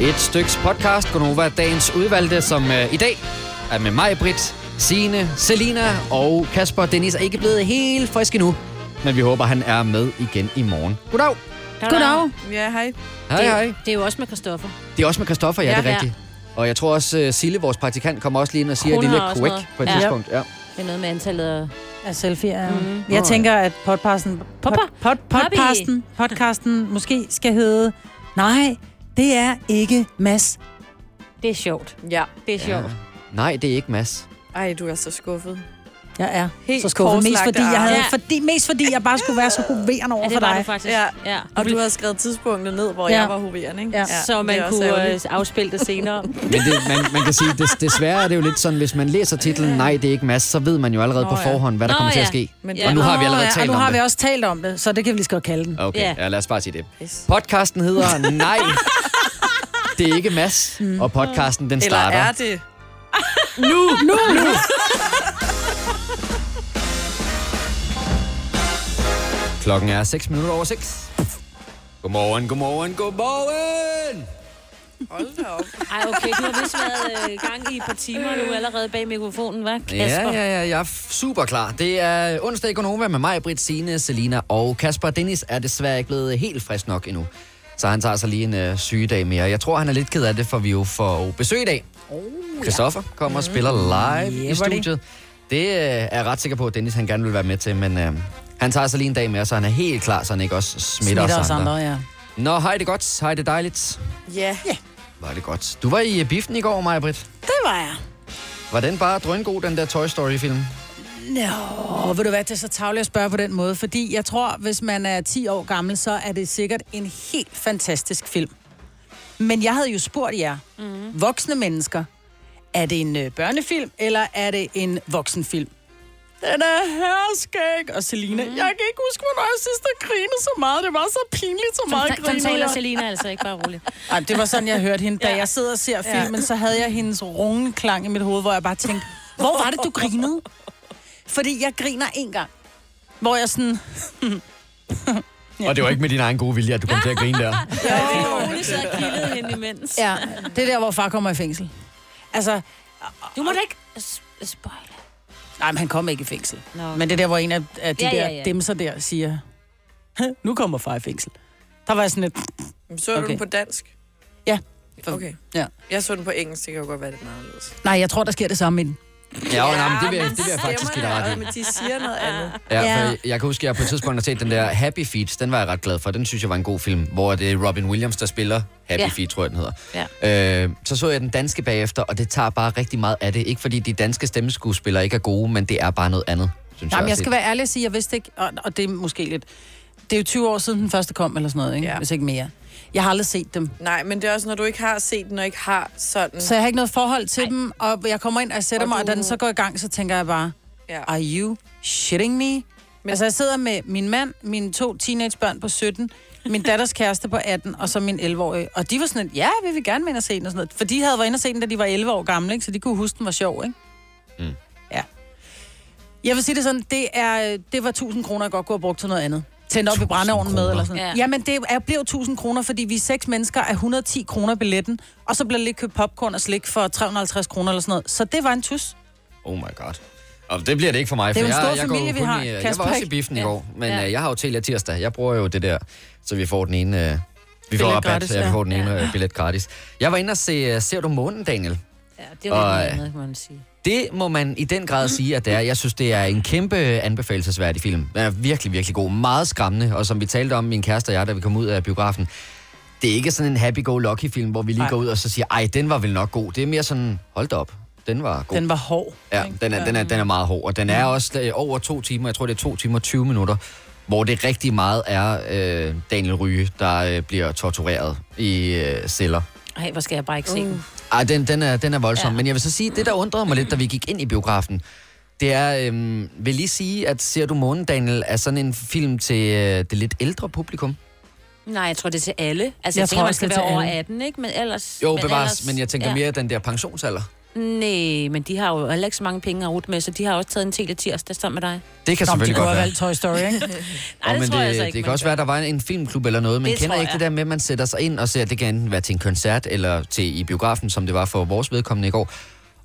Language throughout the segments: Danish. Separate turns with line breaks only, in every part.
Et styks podcast, Gonova dagens udvalgte, som øh, i dag er med mig, Britt, Sine, Selina og Kasper. Dennis er ikke blevet helt frisk endnu, men vi håber, han er med igen i morgen. Goddag!
Goddag.
Ja, hej.
Hej,
det,
hej.
Det er jo også med Christoffer.
Det er også med Christoffer, ja,
Ja.
det er
Ja.
rigtigt. Og jeg tror også, uh, Sille, vores praktikant, kommer også lige ind og siger
Hun
et lille
har også
quack
noget.
på et
Ja.
tidspunkt. Ja.
Det er noget med antallet af...
Er selfie mm.
Nå, ja.
Jeg tænker, at podcasten, pod,
Popper.
pod, podcasten, podcasten måske skal hedde... Nej, det er ikke Mads.
Det er sjovt.
Ja.
Det er sjovt.
Nej, det er ikke Mads.
Ej, du er så skuffet.
Jeg er
Helt
Helt så skuffet. Mest
korslagte
fordi, jeg havde,
arme.
fordi, mest fordi jeg bare skulle være så hoverende over
Ja,
for
det var du
dig.
faktisk.
Ja.
ja.
Og du har skrevet tidspunktet ned, hvor
Ja.
jeg var hoverende, ikke?
Ja.
så
det
man
er også
kunne øh,
ærgerligt.
afspille det senere.
Men det, man, man kan sige, des, desværre er det jo lidt sådan, hvis man læser titlen Nej, det er ikke Mads, så ved man jo allerede
Nå,
på
ja.
forhånd, hvad der
Nå,
kommer til at
ja.
ske.
Men
Ja.
Og nu har vi allerede
Åh, ja,
talt
Og nu
om
har
det.
vi også talt om det, så det kan vi lige så godt kalde den.
Okay,
Ja.
ja, lad os bare sige det.
Yes.
Podcasten hedder Nej, det er ikke Mads, og podcasten den
Mm. Eller
øh, starter.
er det?
Klokken er 6 minutter over 6. Godmorgen, godmorgen, godmorgen!
Hold da op.
Ej, okay, du har vist været øh, gang i et par timer nu allerede bag mikrofonen, hva'
Ja,
Kasper?
ja, ja, jeg er f- super klar. Det er onsdag i Gonova med mig, Britt, Signe, Selina og Kasper. Dennis er desværre ikke blevet helt frisk nok endnu, så han tager sig lige en øh, sygedag mere. Jeg tror, han er lidt ked af det, for vi jo får besøg i dag. Oh, Christoffer kommer og spiller live
Yeah,
i
buddy.
studiet. Det øh, er jeg ret sikker på, at Dennis han gerne vil være med til, men øh, han tager sig lige en dag mere, så han er helt klar, så han ikke også smitter,
Smitter os andre, ja.
Nå, hej det er godt. Hej det er dejligt.
Ja.
Var det godt. Du var i øh, biffen i går, Maja Britt.
Det var jeg.
Var den bare drøngod, den der Toy Story-film?
Nå, ved du hvad, det er så tavligt at spørge på den måde, fordi jeg tror, hvis man er 10 år gammel, så er det sikkert en helt fantastisk film. Men jeg havde jo spurgt jer, mm. voksne mennesker, er det en øh, børnefilm, eller er det en voksenfilm? Den er herskæg. Og Selina, mm. jeg kan ikke huske, hvornår jeg sidst har grinet så meget. Det var så pinligt, så meget
Sådan- Sådan
griner
taler
jeg."
Selina altså ikke bare roligt.
Ej, det var sådan, jeg hørte hende. Da
Ja.
jeg sidder og ser filmen, så havde jeg hendes rungende klang i mit hoved, hvor jeg bare tænkte, hvor var det, du grinede? Fordi jeg griner en gang. Hvor jeg sådan,
Og det var ikke med din egen gode vilje, at du kom til at grine der.
Ole sad og kildede hende imens.
ja, det er der, hvor far kommer i fængsel. Altså,
Du må da ikke s- spoil.
nej, men han kom ikke i fængsel.
Nå.
Men det er der, hvor en af, af de
Ja,
ja, der
ja,
ja,
ja.
demser der siger, "Hæ, nu kommer far i fængsel. Der var jeg sådan lidt,
Men Så du
Okay.
den på dansk?
Ja.
Okay.
Ja.
Jeg så den på engelsk, det kan jo godt være lidt anderledes.
nej, jeg tror, der sker det samme i den.
Ja, ja nej, men det vil, jeg- det vil jeg faktisk give dig ret i.
Men de siger noget andet.
Ja,
Ja.
for jeg kan huske, at jeg på et tidspunkt har set den der Happy Feet. Den var jeg ret glad for. Den synes jeg var en god film, hvor det er Robin Williams, der spiller Happy
Ja.
Feet, tror jeg, den hedder. Ja. Øh, så så jeg den danske bagefter, og det tager bare rigtig meget af det. Ikke fordi de danske stemmeskuespillere ikke er gode, men det er bare noget andet, synes
Jamen, jeg
også.
skal være ærlig og sige, jeg vidste ikke, og, og det er måske lidt... Det er jo 20 år siden, den første kom, eller sådan noget, ikke?
Ja.
Ja. hvis ikke mere. Jeg har aldrig set dem.
Nej, men det er også, når du ikke har set den, og ikke har sådan...
Så jeg har ikke noget forhold til Ej. dem, og jeg kommer ind og jeg sætter
Og
mig, og
du-
da den så går i gang, så tænker jeg bare,
Ja.
are you shitting me? Men... Altså, jeg sidder med min mand, mine to teenagebørn på 17, min datters kæreste på 18, og så min 11-årige. Og de var sådan lidt, ja, vi vil gerne med ind og se den, og sådan noget. For de havde været inde og se den, da de var 11 år gamle, ikke? så de kunne huske, den var sjov, ikke?
Mm.
Ja. Jeg vil sige det sådan, det, er, det var 1000 kroner, jeg godt kunne have brugt til noget andet. Tændt op i
1000
brændeovnen med, eller sådan
kroner?
ja.
Ja.
Jamen, det er, blev 1000 kroner, fordi vi er seks mennesker af 110 kroner billetten, og så bliver der lige købt popcorn og slik for 350 kroner eller sådan noget. Så det var en tus.
Oh my god. Og det bliver det ikke for mig,
Det er
for
jo en
jeg,
stor
jeg, går
familie, vi
kun
har,
I, øh, jeg
Kasper,
var også i
ikke?
biffen ja. i
Ja.
går, men
Ja.
ja. øh, jeg har jo Telia tirsdag. Jeg bruger jo det der, så vi får den ene... Øh, vi får
Billet
rabat,
gratis,
så jeg
ja.
får den ene øh, billet gratis. Jeg var inde og se øh, Ser du månen, Daniel?
Ja, det var
Og-
lidt noget andet, kan man sige.
Det må man i den grad sige, at det er. Jeg synes, det er en kæmpe anbefalesværdig film. Den er virkelig, virkelig god. Meget skræmmende, og som vi talte om, min kæreste og jeg, da vi kom ud af biografen, det er ikke sådan en happy-go-lucky-film, hvor vi lige
Nej.
går ud og så siger, ej, den var vel nok god. Det er mere sådan, hold da op, den var god.
Den var hård.
Ja, den er, den, er, den er meget hård, og den er også øh, over to timer, jeg tror det er to timer og 20 minutter, hvor det rigtig meget er øh, Daniel Ryge, der øh, bliver tortureret i øh, celler.
Ej, hvor skal jeg bare ikke
Uh.
se den.
Ej, den, den, er, den er voldsom, ja.
Ja.
men jeg vil så sige, det der undrede mig lidt, da vi gik ind i biografen, det er, øh, vil lige sige, at Ser du månen, Daniel, er sådan en film til øh, det lidt ældre publikum?
Nej, jeg tror, det er til alle. Altså, jeg,
Jeg
jeg
tror
tænker, man
også,
skal
det er
være
til
over
alle.
18, ikke? Men ellers...
Jo,
men
bevares,
ellers,
men jeg tænker mere den der pensionsalder.
Nej, men de har jo heller ikke så mange penge at rute med, så de har også taget en teletirsdag sammen med dig.
Det kan
Nå, men de
selvfølgelig
kunne
godt
have
være.
valgt Toy Story, ikke?
Nej, det
men
tror
det,
jeg altså ikke,
det
man
kan også
gør.
være, at der var en, en filmklub eller noget. Man
Det
kender
tror
ikke det
jeg.
der med, at man sætter sig ind og ser, det kan enten være til en koncert eller til i biografen, som det var for vores vedkommende i går.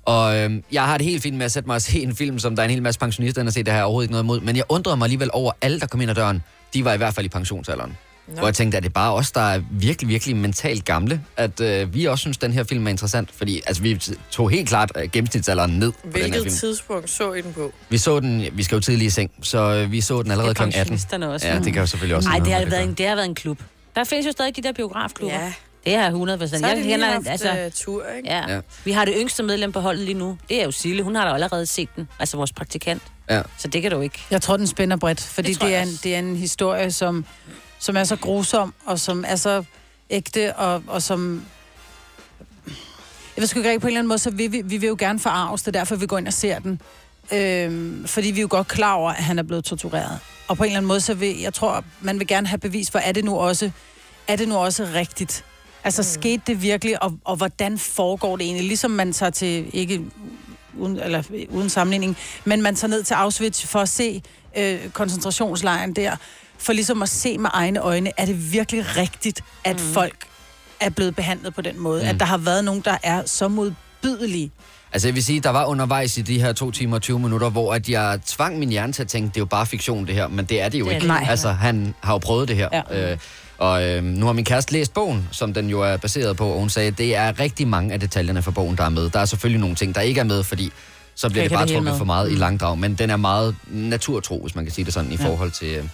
Og øhm, jeg har det helt fint med at sætte mig og se en film, som der er en hel masse pensionister, der har set, det har jeg overhovedet ikke noget imod. Men jeg undrede mig alligevel over, at alle, der kom ind ad døren, de var i hvert fald i pensionsalderen. Nå. Hvor jeg tænkte, at det er bare os, der er virkelig, virkelig mentalt gamle, at øh, vi også synes, den her film er interessant. Fordi altså, vi tog helt klart øh, gennemsnitsalderen ned på den her
Hvilket
film.
tidspunkt så I den på?
Vi så den, vi skal jo tidligt i seng, så øh, vi så den allerede kl. 18.
pensionisterne også.
Ja, det kan jo selvfølgelig også
Nej,
noget
det,
med
har
at
været
gøre.
en, det har været en klub. Der findes jo stadig de der biografklubber.
Ja.
Det har 100 procent.
Så har
Jeg
de lige
kender,
haft
altså,
altså... tur, ikke?
ja.
Ja.
ja. Vi har det yngste medlem på holdet lige nu. Det er jo Sille. Hun har da allerede set den. Altså vores praktikant.
Ja.
Så det kan du ikke.
Jeg tror, den spænder bredt, fordi
Det
det,
tror
det,
jeg
er, en,
også.
det er en historie, som, som er så grusom, og som er så ægte, og, og som... Jeg ved sgu ikke rigtig, på en eller anden måde, så vil vi, vi vil jo gerne forarves, det er derfor, vi går ind og ser den. Øhm, fordi vi er jo godt klar over, at han er blevet tortureret. Og på en eller anden måde, så vil, jeg tror, man vil gerne have bevis for, er det nu også, er det nu også rigtigt? Altså, mm. skete det virkelig, og, og hvordan foregår det egentlig? Ligesom man tager til, ikke uden, eller, uden sammenligning, men man tager ned til Auschwitz for at se øh, koncentrationslejren der, for ligesom at se med egne øjne, er det virkelig rigtigt, at mm. folk er blevet behandlet på den måde? Mm. At der har været nogen, der er så modbydelige?
Altså jeg vil sige, der var undervejs i de her to timer og 20 minutter, hvor at jeg tvang min hjerne til at tænke, det er jo bare fiktion det her, men det er det jo
Det er
ikke.
det ikke.
Altså han har jo prøvet det her.
Ja.
Øh, og øh, nu har min kæreste læst bogen, som den jo er baseret på, og hun sagde, at det er rigtig mange af detaljerne fra bogen, der er med. Der er selvfølgelig nogle ting, der ikke er med, fordi så bliver
Ikke
det bare
det hele
trukket
med.
for meget
Mm.
i langdrag, men den er meget naturtro, hvis man kan sige det sådan, i forhold til... Øh.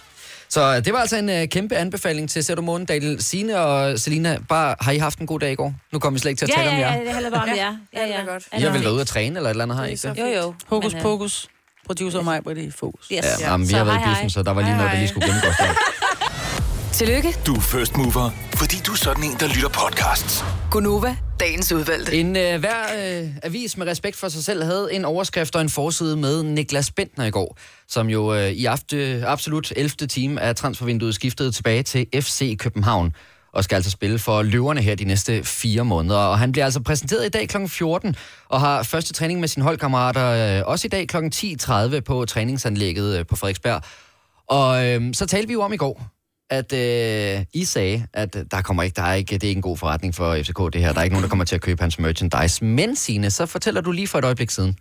Så øh, det var altså en øh, kæmpe anbefaling til Sætter Månedal. Signe og Selina, bare har I haft en god dag i går? Nu kommer vi slet ikke til at
Ja,
tale om jer.
ja, ja, det handler bare om jer. Ja,
det er
ja.
da godt.
I har vel været ude at træne eller et eller andet, har I
Det er
ikke
så
det?
Jo, jo.
Hokus
Men, øh,
pokus. Producer mig, hvor det er fokus.
Yes.
Ja, jamen, vi
Så
har været i
hej, hej.
biffen, så der var lige noget, der lige skulle gennemgås. der.
Tillykke,
Du er first mover, fordi du er sådan en, der lytter podcasts.
Gunova, dagens udvalgte.
En øh, hver øh, avis med respekt for sig selv havde en overskrift og en forside med Niklas Bentner i går, som jo øh, i aften, absolut 11. time af transfervinduet skiftede tilbage til FC København og skal altså spille for løverne her de næste fire måneder. Og han bliver altså præsenteret i dag kl. 14 og har første træning med sine holdkammerater øh, også i dag kl. 10.30 på træningsanlægget øh, på Frederiksberg. Og øh, så talte vi jo om i går, at øh, I sagde, at der kommer ikke, der er ikke, det er ikke en god forretning for FCK, det her. Der er ikke nogen, der kommer til at købe hans merchandise. Men Signe, så fortæller du lige for et øjeblik siden.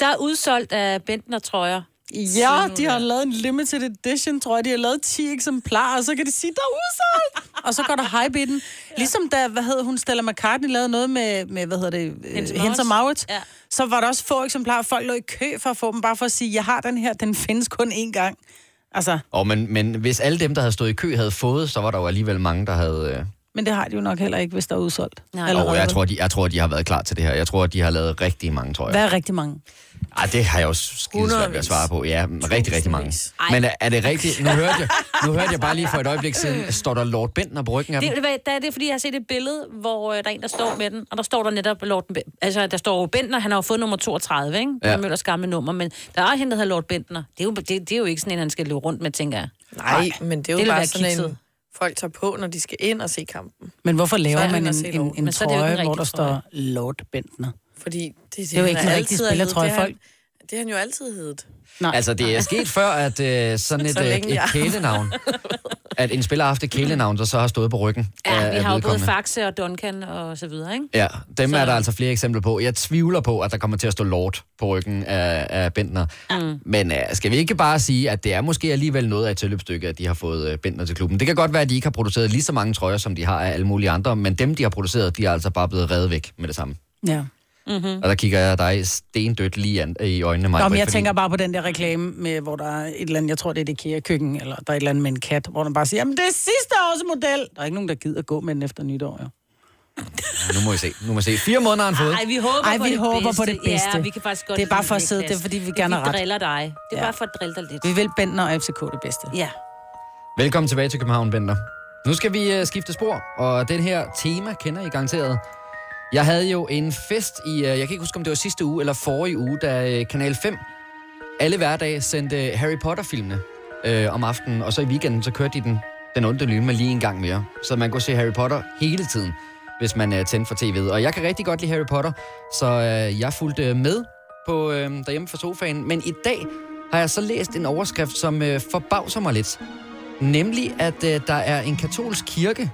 Der er udsolgt af Bentner trøjer.
Ja, de har lavet en limited edition, tror jeg. De har lavet 10 eksemplarer, og så kan de sige, der er udsolgt. og så går der hype i den. Ligesom da, hvad hedder hun, Stella McCartney lavede noget med, med hvad hedder det,
Hens og
øh, Hens og Maurits.
Ja.
Så var der også få eksemplarer, folk lå i kø for at få dem, bare for at sige, jeg har den her, den findes kun én gang. Altså,
Og men, men hvis alle dem, der havde stået i kø, havde fået, så var der jo alligevel mange, der havde... Øh...
men det har de jo nok heller ikke, hvis der er udsolgt.
Nej.
Og jeg tror, de, jeg tror, de har været klar til det her. Jeg tror, de har lavet rigtig mange, tror jeg.
Hvad er rigtig mange?
Ej, det har jeg jo skide svært ved at
Hundredvis.
svare på. Ja, rigtig, rigtig mange.
Tusindvis.
Ej.
Men er, er det rigtigt? Nu hørte, jeg, nu hørte jeg bare lige for et øjeblik siden, står der Lord Bentner på ryggen af dem?
Det, det, det er det, fordi jeg har set et billede, hvor øh, der er en, der står med den, og der står der netop Lord ben, Altså, der står jo Bentner, han har jo fået nummer 32, ikke?
Ja.
Ja. Møllers gamle nummer, men der er også hende, der hedder Lord Bentner. Det er, jo, det, det er jo ikke sådan en, han skal løbe rundt med, tænker jeg.
Nej, men det er
Det
jo det
ville
bare
være
sådan
kikset.
en, folk tager på, når de skal ind og se kampen.
Men hvorfor
Så
laver
er
man
den
en,
også helt
en,
over.
en
Men så er det jo ikke en
trøje, hvor
rigtig
der
trøje.
står Lord Bentner?
Fordi det, det,
er jo ikke
han
en rigtig
altid har heddet.
spillertrøje,
Det har
folk.
han- Det har han jo altid heddet.
Nej.
Altså, det er sket før, at øh, sådan et,
Så
øh,
længe
et
jeg-
kælenavn, at en spiller har haft et kælenavn, der så har stået på ryggen
Ja,
af,
vi har
af
jo både
vedkommende.
Faxe og Duncan og så videre, ikke?
Ja, dem
Så-
er der altså flere eksempler på. Jeg tvivler på, at der kommer til at stå Lord på ryggen af, af Bentner. Mm. Men øh, skal vi ikke bare sige, at det er måske alligevel noget af et tilløbsstykke, at de har fået øh, Bentner til klubben. Det kan godt være, at de ikke har produceret lige så mange trøjer, som de har af alle mulige andre, men dem, de har produceret, de er altså bare blevet reddet væk med det samme.
Ja.
Mm. Og der kigger jeg dig stendødt lige an, i øjnene, Maja.
Nå, men jeg tænker bare på den der reklame, med, hvor der er et eller andet, jeg tror det er det IKEA-køkken, eller der er et eller andet med en kat, hvor den bare siger, jamen det er sidste års model. Der er ikke nogen, der gider gå med den efter nytår, jo.
Nu må vi se. Nu må vi se. Fire måneder har han fået.
Ej, vi håber,
Ej,
på,
vi
det
håber
bedste.
på det bedste.
Ja, vi kan faktisk godt
Det er bare
lide
for at sidde,
Niklas.
det er, fordi vi gerne har
Vi
ret.
driller dig. Det er
Ja.
bare for at drille dig lidt.
Vi vil Bentner og FCK det bedste.
Ja.
Velkommen tilbage til København, Bender. Nu skal vi øh, skifte spor, og den her tema kender I garanteret. Jeg havde jo en fest i, øh, jeg kan ikke huske, om det var sidste uge eller forrige uge, da øh, Kanal 5 alle hverdage sendte Harry Potter-filmene øh, om aftenen, og så i weekenden, så kørte de den, den onde lyme lige en gang mere. Så man kunne se Harry Potter hele tiden. hvis man øh, tændte for tv'et. Og jeg kan rigtig godt lide Harry Potter, så øh, jeg fulgte øh, med på øh, derhjemme fra sofaen. Men i dag har jeg så læst en overskrift, som øh, forbavser mig lidt. Nemlig, at øh, der er en katolsk kirke,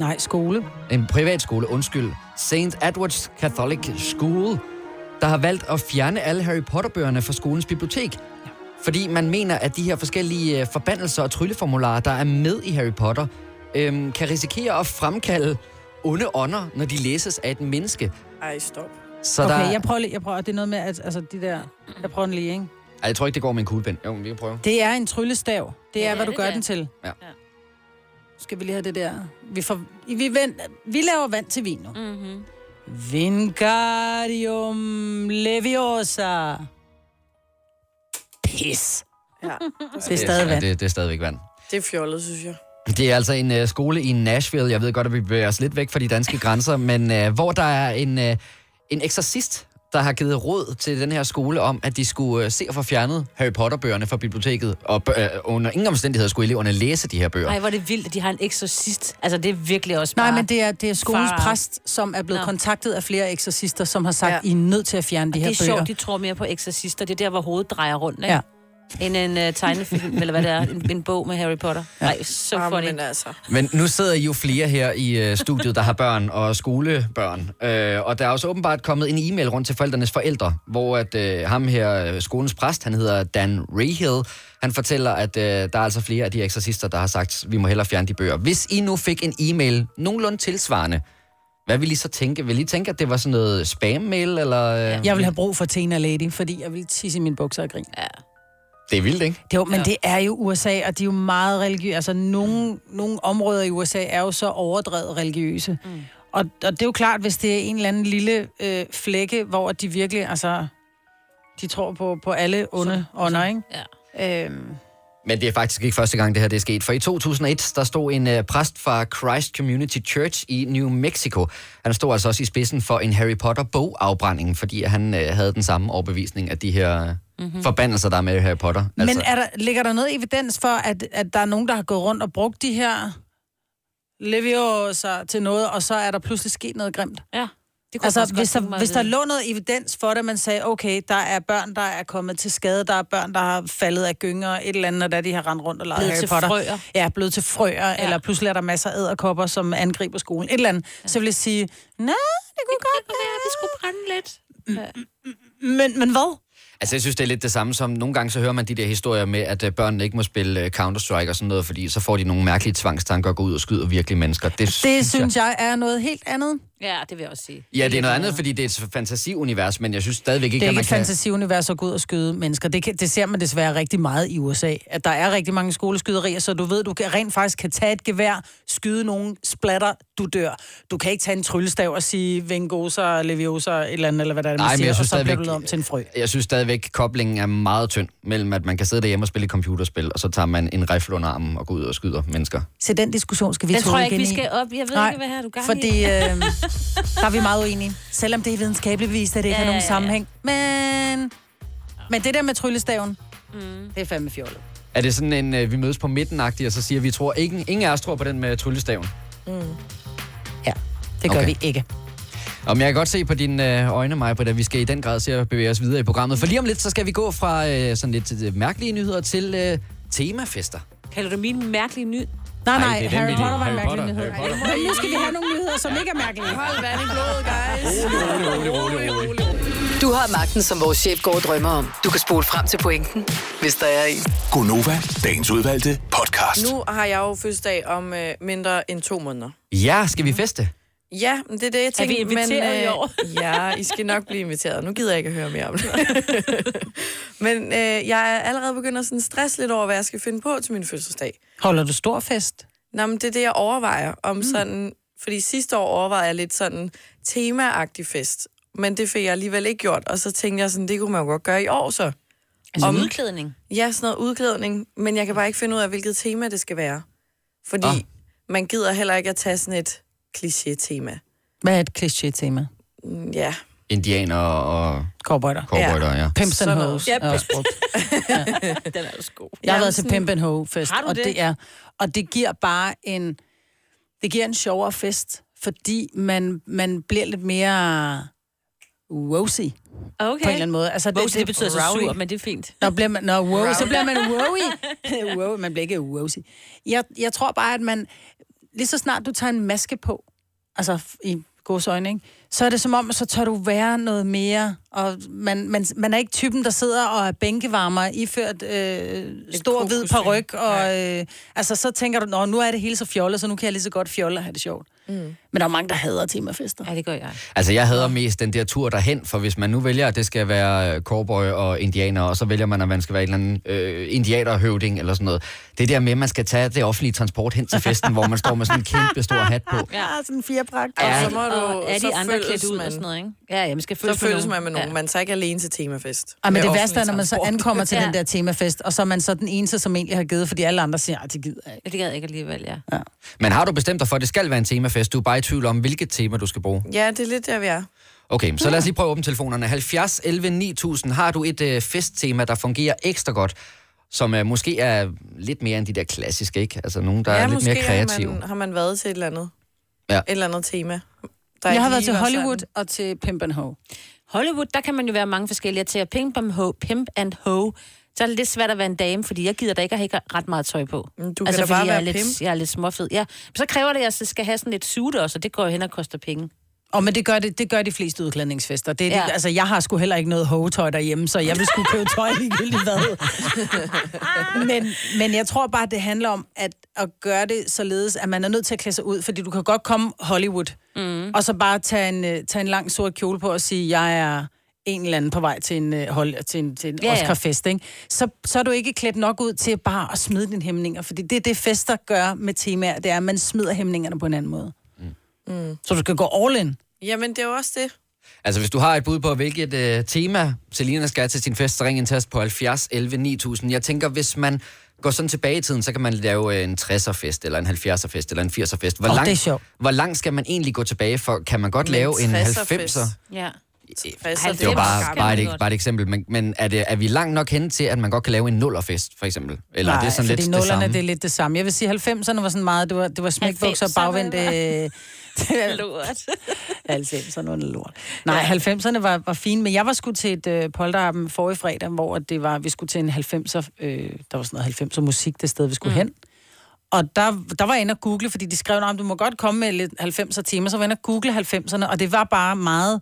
Nej, skole.
en privatskole, undskyld, St. Edward's Catholic School, der har valgt at fjerne alle Harry Potter-bøgerne fra skolens bibliotek. Fordi man mener, at de her forskellige øh, forbandelser og trylleformularer, der er med i Harry Potter, øhm, kan risikere at fremkalde onde ånder, når de læses af et menneske.
Ej, stop.
Så
Okay,
der...
jeg prøver lige, jeg prøver, det er noget med, at altså, de der, jeg prøver den lige, ikke?
Ej, jeg tror ikke, det går med en kuglepen. Jo, men vi kan prøve.
Det er en tryllestav. Det er,
Ja,
ja, hvad du
det
gør
er.
den til.
Ja.
Ja.
Skal vi lige have det der? Vi, får, vi, vend, vi laver vand til vin nu. Mm-hmm. Vingardium leviosa. Pis.
Ja,
Det er stadig vand.
Ja, det, det er stadigvæk vand.
det er fjollet, synes jeg.
Det er altså en øh, skole i Nashville. Jeg ved godt, at vi bevæger os lidt væk fra de danske grænser, men øh, hvor der er en, øh, en eksorcist, der har givet råd til den her skole om, at de skulle øh, se at få fjernet Harry Potter-bøgerne fra biblioteket, og bø- øh, under ingen omstændigheder skulle eleverne læse de her bøger.
Ej, hvor er det vildt, at de har en eksorcist. Altså, det er virkelig også bare...
Nej, men det er, det er skolens
Far.
præst, som er blevet
Nå.
kontaktet af flere eksorcister, som har sagt,
Ja.
ja. I er nødt til at fjerne de
det
her
er
bøger.
sjovt, de tror mere på eksorcister. Det er der, hvor hovedet drejer rundt, ikke?
Ja.
End en uh, tegnefilm, eller hvad det er, en, en bog med Harry Potter. Nej, så
Ah,
funny.
men altså.
Men nu sidder I jo flere her i øh, studiet, der har børn og skolebørn. Øh, og der er også åbenbart kommet en e-mail rundt til forældrenes forældre, hvor at øh, ham her, øh, skolens præst, han hedder Dan Rahill, han fortæller, at øh, der er altså flere af de eksorcister, der har sagt, vi må hellere fjerne de bøger. Hvis I nu fik en e-mail nogenlunde tilsvarende, hvad vil I så tænke? Vil I tænke, at det var sådan noget spam-mail, eller... Øh,
Jeg vil have brug for Tena Lady, fordi jeg vil tisse i mine bukser og grine.
Det er vildt, ikke?
Det er jo, men ja. det er jo USA, og de er jo meget religiøse. Altså, nogle, nogle områder i USA er jo så overdrevet religiøse. Mm. Og, og det er jo klart, hvis det er en eller anden lille øh, flække, hvor de virkelig, altså, de tror på, på alle onde ånder, ikke?
Ja.
Øhm,
Men det er faktisk ikke første gang, det her det er sket. For i 2001, der stod en øh, præst fra Christ Community Church i New Mexico. Han stod altså også i spidsen for en Harry Potter-bogafbrænding, fordi han øh, havde den samme overbevisning af de her mm-hmm. forbandelser, der er med i Harry Potter.
altså. Mhm. Men er der, ligger der noget evidens for, at, at der er nogen, der har gået rundt og brugt de her levioser til noget, og så er der pludselig sket noget grimt?
Ja. Det kunne jeg
Altså,
faktisk godt
hvis
tænke mig
der,
at
hvis der
vide.
lå noget evidens for det, man sagde, okay, der er børn, der er kommet til skade, der er børn, der har faldet af gynger, et eller andet, og da de har rendt rundt og leget
Blevet
Harry
til
Potter.
frøer.
Ja, blevet til frøer, ja. eller pludselig er der masser af æderkopper, som angriber skolen, et eller andet. Ja. Så vil jeg sige, nej, det kunne
Det
godt Mm,
kunne være, at vi skulle brænde lidt.
være. Men, men hvad?
Altså, jeg synes, det er lidt det samme som, nogle gange så hører man de der historier med, at øh, børnene ikke må spille øh, Counter-Strike og sådan noget, fordi så får de nogle mærkelige tvangstanker og går ud og skyder virkelig mennesker. Det,
Altså, Det synes jeg er noget helt andet.
Ja, det vil jeg også sige.
Ja, det er noget andet, fordi det er et fantasiunivers, men jeg synes stadigvæk ikke,
Det er
at
ikke
man
et
kan...
fantasiunivers at gå ud og skyde mennesker. Det, kan, det ser man desværre rigtig meget i USA. At der er rigtig mange skoleskyderier, så du ved, du kan, rent faktisk kan tage et gevær, skyde nogen, splatter, du dør. Du kan ikke tage en tryllestav og sige vengosa, leviosa, et eller andet, eller hvad der er, man
Nej, men
siger,
jeg synes
og så bliver
stadigvæk-
du lavet om til en frø.
Jeg synes stadigvæk, koblingen er meget tynd mellem, at man kan sidde derhjemme og spille et computerspil, og så tager man en rifle under armen og går ud og skyder mennesker.
Så den diskussion skal vi
Den
tåle
tror jeg ikke,
igen
vi
i.
skal op. Jeg ved
Nej,
ikke, hvad her du gang i.
fordi øh, der er vi meget uenige. Selvom det er videnskabeligt bevist, at det ikke
Ja,
ja, har nogen
ja, ja.
sammenhæng. Men, men det der med tryllestaven, mm. det er fandme fjollet.
Er det sådan en, øh, vi mødes på midten og så siger, vi tror ikke, ingen af os tror på den med tryllestaven?
Ja, det gør
Okay.
okay. vi ikke.
Om jeg kan godt se på dine øh, øjne, Maja, at vi skal i den grad se at bevæge os videre i programmet. For lige om lidt, så skal vi gå fra øh, sådan lidt øh, mærkelige nyheder til øh, temafester.
Kalder du min mærkelige ny...
Nej,
Ej,
nej,
det er den,
Ej,
vi
Harry
lige-
Potter var en
Harry Potter,
mærkelig nyhed.
Harry Potter.
Ej, Nu skal vi have nogle nyheder, som ikke er mærkelige.
Hold vand i blodet, guys.
Du har magten, som vores chef går og drømmer om. Du kan spole frem til pointen, hvis der er en.
Gonova, dagens udvalgte podcast.
Nu har jeg jo fødselsdag om øh, mindre end to måneder.
Ja, skal vi feste?
Ja, men det er det, jeg tænkte.
vi inviteret
men, øh,
i år?
ja, I skal nok blive inviteret. Nu gider jeg ikke at høre mere om det. men øh, jeg er allerede begyndt at sådan stresse lidt over, hvad jeg skal finde på til min fødselsdag.
Holder du stor fest?
Nå, men det er det, jeg overvejer om mm. sådan... Fordi sidste år overvejede jeg lidt sådan temaagtig fest. Men det fik jeg alligevel ikke gjort. Og så tænkte jeg sådan, det kunne man jo godt gøre i år så.
Altså
Om-
udklædning.
Ja, sådan noget udklædning, men jeg kan bare ikke finde ud af, hvilket tema det skal være. Fordi
Ah.
oh. man gider heller ikke at tage sådan et kliché-tema.
Hvad er et kliché-tema?
Mm, Ja,
Indianer og
Cowboyter.
cowboyder, ja. ja.
Pimps and
Sådan noget.
hoes.
Ja,
er også brugt.
Den er også god.
Jeg har
Jamen,
været til
sådan-
Pimp and Hoe fest.
Har du
og
det?
det? er, og det giver bare en... Det giver en sjovere fest, fordi man, man bliver lidt mere rosy okay. på
Okay.
en eller anden måde. Altså,
Wow, det, det betyder så
Rowdy.
sur, men det er fint.
Nå, bliver man, nå, wow, så bliver man wowy. wow, man bliver ikke wowy. Jeg, jeg tror bare, at man, lige så snart du tager en maske på, altså f- i gods øjne, ikke? så er det som om, så tør du være noget mere, og man, man, man er ikke typen, der sidder og er bænkevarmer, iført øh, stor hvid
kokosyg.
paryk, og øh, altså, så tænker du, nå, nu er det hele så fjollet, så nu kan jeg lige så godt fjolle og have det sjovt. Mm. Men der er mange, der hader temafester.
Ja, det gør jeg.
Altså, jeg hader mest den der tur derhen, for hvis man nu vælger, at det skal være øh, cowboy og indianer, og så vælger man, at man skal være en eller anden øh, indianerhøvding eller sådan noget. Det der med, at man skal tage det offentlige transport hen til festen, hvor man står med sådan en kæmpe stor hat på.
Ja, sådan en firepragt.
Og
Ja.
så må du,
og er
så
de andre
følges
klædt ud og sådan noget, ikke? Ja, ja, man skal føles
Så føles
med
man med nogen.
Ja.
Man tager ikke alene til temafest.
Ej, Ah, men
Med
det værste er, når
offentlig
man så
transport.
ankommer til
Ja.
ja. den der temafest, og så er man så den eneste, som egentlig har givet, fordi alle andre siger, at det gider jeg ikke.
Ja, Det gad jeg ikke alligevel, ja.
Men har du bestemt dig for, at det skal være en temafest? Du er bare i tvivl om, hvilket tema du skal bruge.
Ja, det er lidt der, vi er.
Okay, så lad os lige prøve at åbne telefonerne. 70 11 9000. Har du et øh, festtema, der fungerer ekstra godt? Som øh, måske er lidt mere end de der klassiske, ikke? Altså nogen, der ja, er lidt mere kreative.
Har man, har man været til et eller andet,
Ja.
et eller andet tema. Der
Jeg
ikke
har været
lige
til
var
Hollywood og til Pimpenhoe.
Hollywood, der kan man jo være mange forskellige til at pimp and ho, pimp and ho. Så er det lidt svært at være en dame, fordi jeg gider da ikke at have ret meget tøj på. Altså,
Men du kan da
fordi
bare
jeg, er
være pimp.
lidt, jeg er lidt småfed. Ja, men så kræver det, at jeg så skal have sådan lidt suit også, og det går jo hen og koster penge.
Og men det gør, det, det gør de fleste udklædningsfester. Det, ja.
Ja.
det, altså, jeg har sgu heller ikke noget hovedtøj derhjemme, så jeg vil sgu købe tøj ligegyldigt hvad. men, men jeg tror bare, det handler om at, at gøre det således, at man er nødt til at klæde sig ud, fordi du kan godt komme Hollywood, mm. og så bare tage en, øh, tage en lang sort kjole på og sige, jeg er en eller anden på vej til en, øh, hold, til en, til en
Ja,
ja,
ja.
Oscar-fest, ikke? Så, så er du ikke klædt nok ud til bare at smide dine hæmninger, fordi det er det, fester gør med temaer, det er, at man smider hæmningerne på en anden måde. Mm. Så du skal gå all in.
Jamen, det er jo også det.
Altså, hvis du har et bud på, hvilket øh, tema Selina skal have til sin fest, så ring en test på 70 11 9000. Jeg tænker, hvis man går sådan tilbage i tiden, så kan man lave øh, en 60'er-fest, eller en 70'er-fest, eller en 80'er-fest. Hvor,
Åh,
langt-
det er sjovt.
hvor langt skal man egentlig gå tilbage for? Kan man godt
Men
lave en
60'er-fest.
90'er?
Ja.
Altså,
Det var bare,
Skal
bare
man
et,
godt.
bare et eksempel, men, men er, det, er vi langt nok hen til, at man godt kan lave en nullerfest, for eksempel? Eller Nej, er det sådan lidt det
nullerne,
samme?
altså, det er lidt det samme. Jeg vil sige, 90'erne var sådan meget, det var, det var smækbukser og
90'erne
bagvendt. Øh,
var-
lort. 90'erne øh, var noget lort. Nej, 90'erne var, var fine, men jeg var sgu til et øh, polterappen forrige fredag, hvor det var, vi skulle til en 90'er, øh, der var sådan noget 90'er musik, det sted, vi skulle mm. hen. Og der, der var jeg inde og google, fordi de skrev, om du må godt komme med lidt 90'er timer, så var jeg inde og google 90'erne, og det var bare meget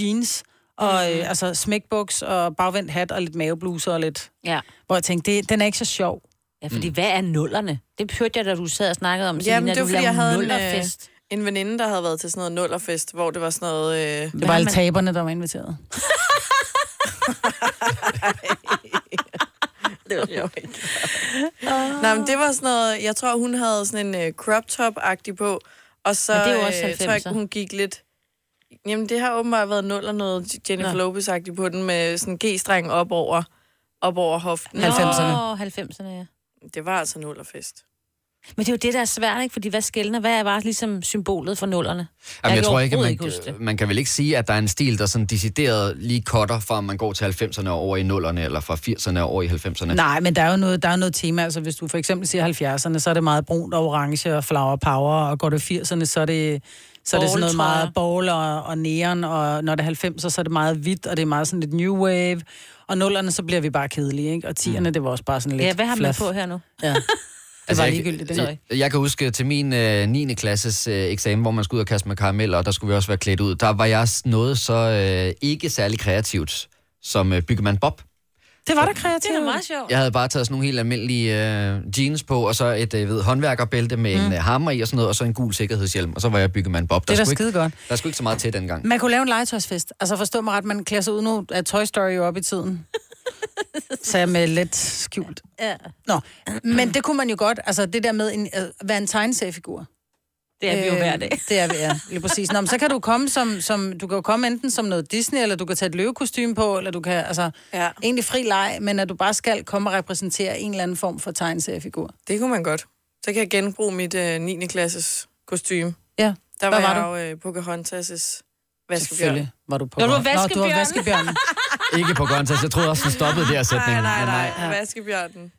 jeans, og
Mm.
øh, altså smækbuks og bagvendt hat og lidt mavebluser og lidt...
Ja.
Hvor jeg tænkte, det, den er ikke så sjov.
ja, fordi hvad er nullerne? Det hørte jeg, da du sad og snakkede om,
Mm. Jamen,
Selina,
det var,
du
fordi jeg
lavede
havde en,
nullerfest.
øh, en veninde, der havde været til sådan noget nullerfest, hvor det var sådan noget... Øh,
Det var
Hvad
alle
man-
taberne, der var inviteret.
Nej, men det var sådan noget... Jeg tror, hun havde sådan en øh, crop top-agtig på, og så
Men det er jo også
øh, tror jeg, ikke,
90'er.
hun gik lidt... Jamen, det har åbenbart været nuller noget Jennifer
Nå.
Lopez-agtig på den, med sådan en G-streng op over, op over hoften.
90'erne.
Nå, 90'erne, ja.
Det var altså nullerfest.
Men det er jo det, der er svært, ikke? Fordi hvad skældner? Hvad er bare ligesom symbolet for nullerne?
Jamen, jeg,
kan
tror ikke,
overhovedet
man,
ikke huske det.
man kan vel ikke sige, at der er en stil, der sådan decideret lige cutter, fra man går til 90'erne og over i 0'erne, eller fra 80'erne og over i 90'erne.
Nej, men der er jo noget, der er noget tema. Altså, hvis du for eksempel siger 70'erne, så er det meget brunt og orange og flower power, og går du 80'erne, så er det, så er det sådan
Ball,
noget
tror jeg.
meget ball og, og neon, og når det er 90'er, så er det meget hvidt, og det er meget sådan lidt new wave. Og nullerne, så bliver vi bare kedelige, ikke? Og 10'erne, det var også bare sådan lidt
Mm. Ja, hvad har man
fluff.
på her nu?
Ja.
Altså,
var
jeg-
ligegyldigt, det.
Jeg, jeg kan huske til min øh, 9. klasses øh, eksamen, hvor man skulle ud og kaste med karameller, og der skulle vi også være klædt ud. Der var jeg s- noget så øh, ikke særlig kreativt som øh, byggemand Bob.
Det var da kreativt.
Det er da meget sjovt.
Jeg havde bare taget sådan nogle helt almindelige øh, jeans på, og så et øh, ved, håndværkerbælte med mm. en øh, hammer i og sådan noget, og så en gul sikkerhedshjelm, og så var jeg byggemand Bob.
Det er da
skulle ikke,
skidegodt.
der skulle ikke så meget til dengang.
Man kunne lave en legetøjsfest. Altså forstå mig ret, man klæder sig ud nu af Toy Story jo op i tiden. Så jeg med lidt skjult.
Ja.
Nå, men det kunne man jo godt. Altså det der med en, at være en tegneseriefigur.
Det er vi jo hver dag.
Øhm, Det er vi, ja. Lige præcis. Nå, men så kan du komme som, som, du kan jo komme enten som noget Disney, eller du kan tage et løvekostyme på, eller du kan, altså,
Ja.
ja. egentlig fri leg, men at du bare skal komme og repræsentere en eller anden form for tegneseriefigur.
Det kunne man godt. Så kan jeg genbruge mit øh, 9. klasses kostume.
Ja,
Der
Hvad
var,
var
jeg
du?
jo øh, Pocahontas' vaskebjørn.
selvfølgelig var du på.
Nå, du var
Nå, du var vaskebjørnen.
ikke på grøntas. Jeg troede også, den stoppede der sætningen.
Nej, nej,
men
nej. Vaskebjørnen.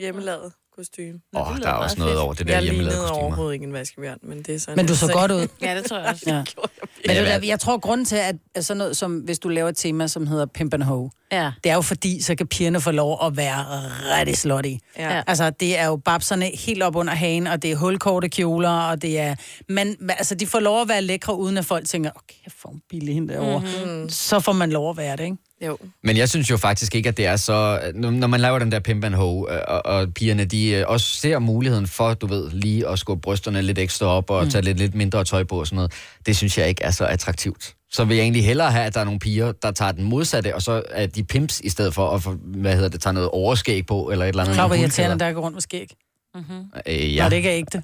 Hjemmelavet. kostume.
Åh, oh, der er også
meget
noget
fedt.
over det der
Jeg
hjemmelavede
lignede
kostymer.
overhovedet ikke en vaskebjørn, men det er sådan...
Men du så
altså-
godt ud.
Ja, det tror jeg også.
Ja. Men det, er der, jeg tror, grunden til, at at sådan noget som, hvis du laver et tema, som hedder Pimp and Ho,
Ja.
det er jo fordi, så kan pigerne få lov at være rigtig slot i.
Ja.
Altså, det er jo babserne helt op under hagen, og det er hulkorte kjoler, og det er... Men, men altså, de får lov at være lækre, uden at folk tænker, okay, jeg får en billig hende derovre. Mm-hmm. Så får man lov at være det, ikke?
Jo.
Men jeg synes jo faktisk ikke, at det er så... Når når man laver den der pimp and hoe, øh, og, og pigerne, de øh, også ser muligheden for, du ved, lige at skubbe brysterne lidt ekstra op og mm. tage lidt, lidt mindre tøj på og sådan noget. Det synes jeg ikke er så attraktivt. Så vil jeg egentlig hellere have, at der er nogle piger, der tager den modsatte, og så er de pimps i stedet for at, få- hvad hedder det, tage noget overskæg på, eller et eller andet.
Klar, hvor
nogle
irriterende, der går rundt med skæg.
guldkæder. Øh,
Ja.
ja.
Når det ikke er ægte.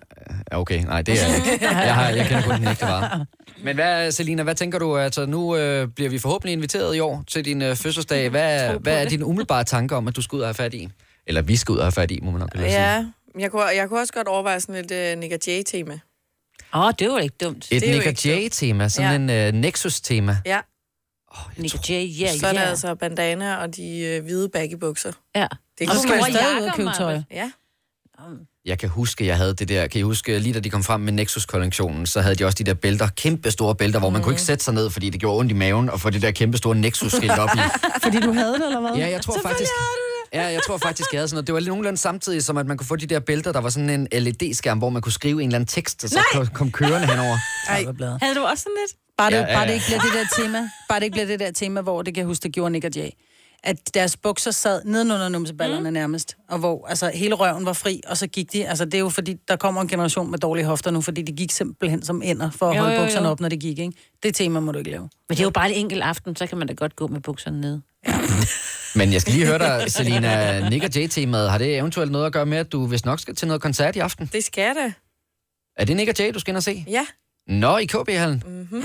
Ja, Okay, nej, det er jeg ikke. Jeg, har, jeg kender kun den ægte vare. Men hvad, Selina, hvad tænker du? Altså, nu øh, bliver vi forhåbentlig inviteret i år til din øh, fødselsdag. Hvad, hvad er dine umiddelbare tanker om, at du skal ud og have fat i? Eller vi skal ud og have fat i, må man nok hellere sige.
Ja, jeg kunne, jeg kunne også godt overveje sådan et uh, Nick Jay-tema.
Åh, oh, det var ikke dumt.
Et
det er jo
Nick
ikke
Jay-tema, sådan ja. en øh, Nexus-tema.
Ja,
Nick J, ja,
så er der
ja.
altså bandana og de uh, hvide baggybukser.
ja.
Det
Og
Og
kunne
så
store
skal man
man...
stadig
jakker,
ud og købe tøj.
Maja.
Ja,
Jeg kan huske, jeg havde det der. Kan I huske, lige da de kom frem med Nexus-kollektionen, så havde de også de der bælter, kæmpe store bælter, hvor man kunne
Mm.
ikke sætte sig ned, fordi det gjorde ondt i maven, og få det der kæmpe store Nexus-skilt op i.
Fordi du havde det, eller hvad?
Ja, jeg tror faktisk... Ja, jeg tror faktisk, jeg havde sådan noget. Det var lige nogenlunde samtidig, som at man kunne få de der bælter, der var sådan en LED-skærm, hvor man kunne skrive en eller anden tekst, og så kom- kom kørende henover.
Ej.
Havde du også sådan lidt?
Bare det,
Ja,
ja,
ja,
ja, ja. bare
ja.
det ikke bliver det der tema, bare det ikke bliver det der tema, hvor det kan jeg huske, det gjorde Nick og Jay. At deres bukser sad nedenunder numseballerne mm. nærmest, og hvor altså, hele røven var fri, og så gik de. Altså, det er jo fordi, der kommer en generation med dårlige hofter nu, fordi de gik simpelthen som ender for at
Jo,
holde
jo, jo.
bukserne op, når det gik, ikke? Det tema må du ikke lave.
Men det er jo bare en enkelt aften, så kan man da godt gå med bukserne ned.
Men jeg skal lige høre dig, Selina. Nick og Jay-temaet, har det eventuelt noget at gøre med, at du hvis nok skal til noget koncert i aften?
det skal jeg da.
Er det Nick og Jay, du skal ind og se?
Ja,
Nå, i KB-hallen.
Mhm.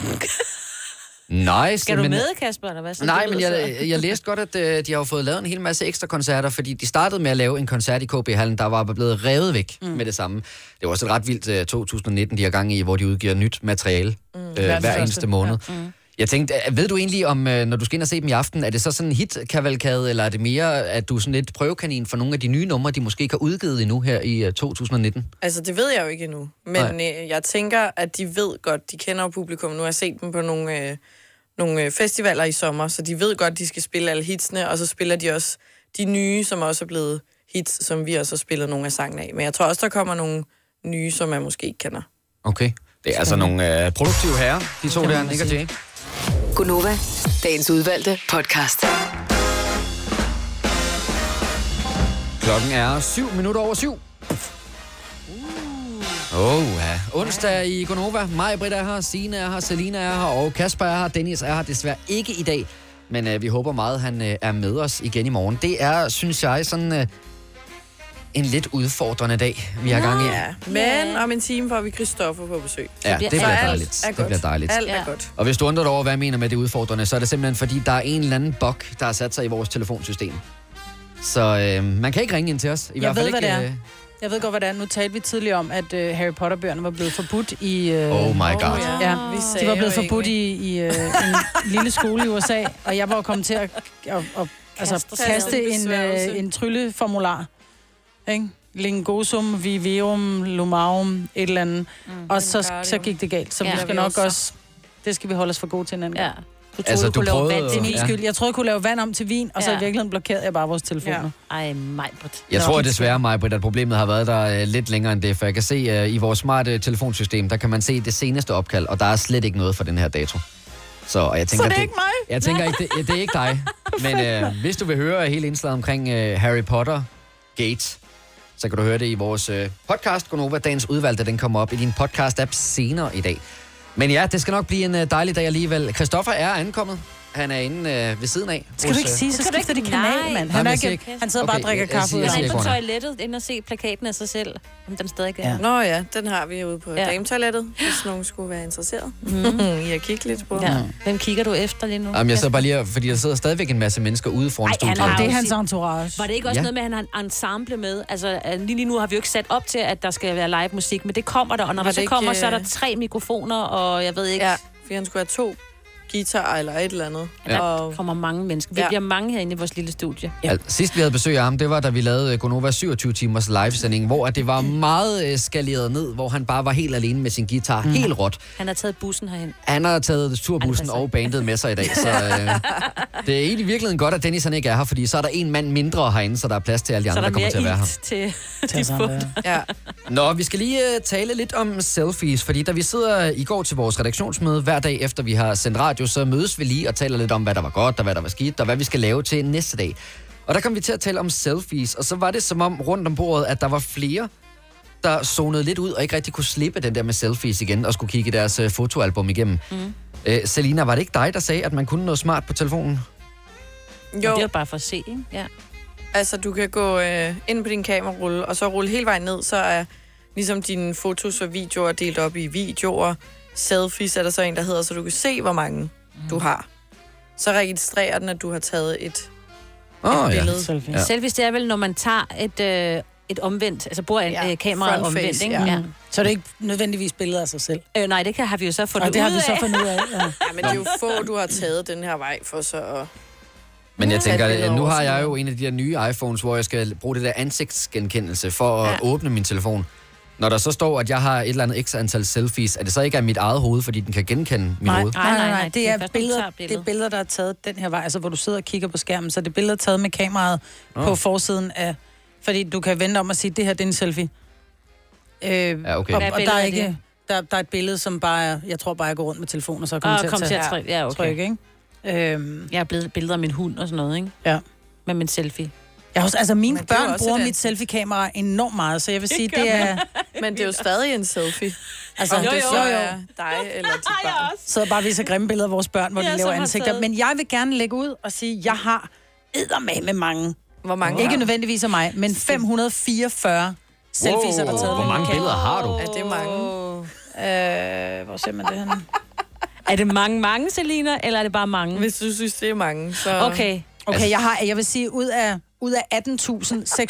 Nej, nice,
Skal du
men-
med, Kasper, eller hvad? Så
Nej,
det
men
lyder så-
jeg, jeg læste godt, at øh, de har jo fået lavet en hel masse ekstra koncerter, fordi de startede med at lave en koncert i KB-hallen, der var blevet revet væk mm. med det samme. Det var også et ret vildt øh, 2019, de har gang i, hvor de udgiver nyt materiale mm. øh, hver,
første.
eneste måned. Ja. Mm. Jeg tænkte, øh, ved du egentlig om, øh, når du skal ind og se dem i aften, er det så sådan en hit-kavalkade, eller er det mere, at du er sådan lidt prøvekanin for nogle af de nye numre, de måske ikke har udgivet endnu her i øh, 2019?
altså det ved jeg jo ikke endnu. Men øh, jeg tænker, at de ved godt, de kender jo publikum. Nu har jeg set dem på nogle, øh, nogle øh, festivaler i sommer, så de ved godt, de skal spille alle hitsene, og så spiller de også de nye, som også er blevet hits, som vi også har spillet nogle af sangene af. Men jeg tror også, der kommer nogle nye, som man måske ikke kender.
Okay. Det er altså nogle øh, produktive herrer, de to der, Nick og Jay.
Gunova, dagens udvalgte podcast.
Klokken er 7 minutter over syv. Åh, oh, ja. Onsdag i Gonova. Maja Britt er her, Signe er her, Selina er her, og Kasper er her. Dennis er her desværre ikke i dag, men øh, vi håber meget, han øh, er med os igen i morgen. Det er, synes jeg, sådan øh, en lidt udfordrende dag, vi har gang i. Ja,
Ja. Men om en time får vi Christoffer på besøg.
det
bliver
bliver
alt
dejligt.
er
Det
godt.
bliver dejligt.
Alt er
Ja.
godt.
Og hvis du undrer dig over, hvad jeg mener med det udfordrende, så er det simpelthen, fordi der er en eller anden bug, der har sat sig i vores telefonsystem. Så øh, man kan ikke ringe ind til os. I jeg hvert
ved,
fald
hvad
ikke,
det er. Jeg ved godt, hvordan. Nu talte vi tidligere om, at øh, Harry Potter-bøgerne var blevet forbudt i... Øh,
Øh, oh my god.
Åh, ja.
Ja,
Vi
de
sagde
var blevet
jo
forbudt
ikke.
i, i øh, en lille skole i USA, og jeg var jo kommet til at, at, at altså,
Kaste
kaste
sig.
en, øh,
Besværgelse.
en trylleformular. Ikke? Lingosum, viveum, lumarum, et eller andet. Mm, og så, så
Vingardium.
gik det galt, så ja,
Ja.
vi skal nok også... Det skal vi holde os for gode til en anden
Ja.
ja.
Du troede,
Altså,
altså,
du
du, kunne lave
prøvede
vand
at-
til
Det er min
min
Ja.
skyld. Jeg troede, jeg kunne lave vand om til vin, og så i
Ja.
virkeligheden blokerede jeg bare vores telefoner.
Ej, mig, Britt.
Jeg
Nå.
tror desværre, mig, Britt, at problemet har været der øh, lidt længere end det, for jeg kan se øh, i vores smarte telefonsystem, der kan man se det seneste opkald, og der er slet ikke noget for den her dato. Så, og jeg tænker,
Så det er ikke mig?
Jeg tænker ikke, det, ja, det er ikke dig. Men øh, hvis du vil høre hele indslaget omkring øh, Harry Potter Gate, så kan du høre det i vores øh, podcast, Gonova Dagens Udvalgte. Den kommer op i din podcast-app senere i dag. Men ja, det skal nok blive en øh, dejlig dag alligevel. Christoffer er ankommet. Han er inde øh, ved siden af.
Skal du
hos,
ikke
øh,
sige, så
Det kan du
skifter de
ikke-
kanal,
Nej.
mand.
Nej,
Han,
men
er
jeg siger
ikke,
ikke-
han sidder bare og
Okay,
drikker
jeg- jeg
kaffe ud
siger-
af
jeg
Jeg er
siger-
på
ikke,
toilettet, ind og se plakaten af sig selv, om den stadig er.
Ja.
Ja.
Nå ja, den har vi ude på
Ja.
ja. dametoilettet, hvis nogen skulle være interesseret. Mm. I at kigge lidt på. Ja.
ja. Hvem kigger du efter lige nu?
Mm. Jamen, jeg
Kasper?
sidder bare lige, og- fordi der sidder stadigvæk en masse mennesker ude foran
Ej, han
studiet.
har
Om det er
jo
hans
sit-
entourage.
Var det ikke
Ja.
også ja. noget med, at han har en ensemble med? Altså, øh, lige lige nu har vi jo ikke sat op til, at der skal være live musik, men det kommer der, og når
Var
det så
det
kommer,
ikke,
så er der
øh,
tre mikrofoner, og jeg ved ikke...
ja, fordi han skulle have to guitar eller et eller andet.
Ja.
Og
Der kommer mange mennesker. Vi
Ja.
bliver mange herinde i vores lille studie.
Ja. Altså, sidst vi havde besøg af ham, det var da vi lavede øh, Gonova 27 timers livesending, hvor at det var meget øh, skaleret ned, hvor han bare var helt alene med sin guitar, mm. helt råt.
Han har taget bussen herhen.
Han har taget turbussen
Han passer
og
ikke.
bandet med sig i dag, så øh, det er egentlig virkelig godt, at Dennis han ikke er her, fordi så er der en mand mindre herinde, så der er plads til alle de
Så
andre,
er der
der kommer
mere
til at være her.
ilt til,
Tag
de
sammen,
få.
ja.
ja,
Nå, vi skal lige øh, tale lidt om selfies, fordi da vi sidder i går til vores redaktionsmøde hver dag efter vi har sendt radio, så mødes vi lige og taler lidt om, hvad der var godt og hvad der var skidt, og hvad vi skal lave til næste dag. Og der kom vi til at tale om selfies, og så var det som om rundt om bordet, at der var flere, der zonede lidt ud og ikke rigtig kunne slippe den der med selfies igen og skulle kigge deres øh, fotoalbum igennem. Mm. Øh, Selina, var det ikke dig, der sagde, at man kunne noget smart på telefonen?
Jo.
jo,
Det var bare for at se, ikke? Ja.
altså du kan gå øh, ind på din kamerarulle, og så rulle hele vejen ned, så er ligesom dine fotos og videoer delt op i videoer. Selfies er der så en, der hedder, så du kan se, hvor mange du har. Så registrerer den, at du har taget et
Åh
oh,
ja.
billede.
Selfie.
ja. Selv hvis det er vel, når man tager et, øh, et omvendt, altså bruger ja.
Ja,
øh, kameraet
front face,
omvendt, ikke?
ja.
Ja.
Så er det ikke nødvendigvis billeder af sig selv.
Øh, nej, det kan, har vi jo så fundet
Og det har
ud
vi så
af.
fundet ud af. Ja.
Ja, men det er jo få, du har taget den her vej for så at...
Men jeg
Ja.
tænker,
Tage
at
et billede
nu
over
har
sådan
jeg
noget.
jo en af de der nye iPhones, hvor jeg skal bruge det der ansigtsgenkendelse for at ja. åbne min telefon. Når der så står, at jeg har et eller andet x antal selfies, er det så ikke af mit eget hoved, fordi den kan genkende mit hoved?
Nej, nej, nej.
Det,
Det er
er,
først, når du
billeder,
tager
det er
billedet.
billeder, der er taget den her vej, altså hvor du sidder og kigger på skærmen. Så det er billeder taget med kameraet oh. på forsiden af... Fordi du kan vente om at sige, det her det er en selfie. Øh, ja,
okay.
Og,
Hvad
og der
billede
er
er
ikke...
det?
Der, der er et billede, som bare er, jeg tror bare, jeg går rundt med telefonen, og så kommer
Og kom til at
tage-
trykke. Ja, okay.
trykke, ikke? Øhm,
Jeg har blevet billeder af min hund og sådan noget, ikke?
Ja.
Med min selfie.
jeg har også, altså, mine
Men det er jo
børn
også
bruger
et
mit
ansigt.
selfie-kamera enormt meget, så jeg vil sige, det, er...
Men det er jo stadig en selfie.
Altså,
Om
det
det
er
så er dig eller dit barn.
sidder bare og viser grimme billeder af vores børn, hvor de
Ja,
laver
som har
ansigter.
taget-
Men jeg vil gerne lægge ud og sige, at jeg har eddermame mange.
Hvor mange
Ikke
har du?
nødvendigvis af mig, men 544 selfies er der taget.
Hvor
med
mange
min
billeder har du?
Ja, det er mange.
kamera. Øh, hvor ser man det henne?
Altså- Er det mange, mange, Selina, eller er det bare mange?
Hvis du synes, det er mange, så...
Okay.
Okay, jeg har, jeg vil sige, ud af, ud af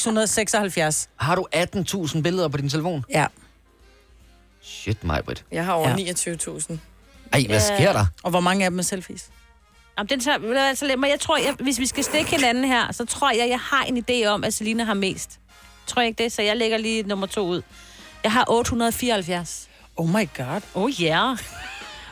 18.676.
Har du 18.000 billeder på din telefon?
Ja.
Shit, mig, Britt.
Jeg har over
Ja.
29.000.
Ej, hvad sker der?
Og hvor mange af dem er selfies?
Jamen, den tager, ved du hvad, så lad mig, jeg tror, jeg, hvis vi skal stikke hinanden her, så tror jeg, jeg har en idé om, at Selina har mest. Tror jeg ikke det? Så jeg lægger lige nummer to ud. Jeg har 874.
Oh my god.
Oh yeah.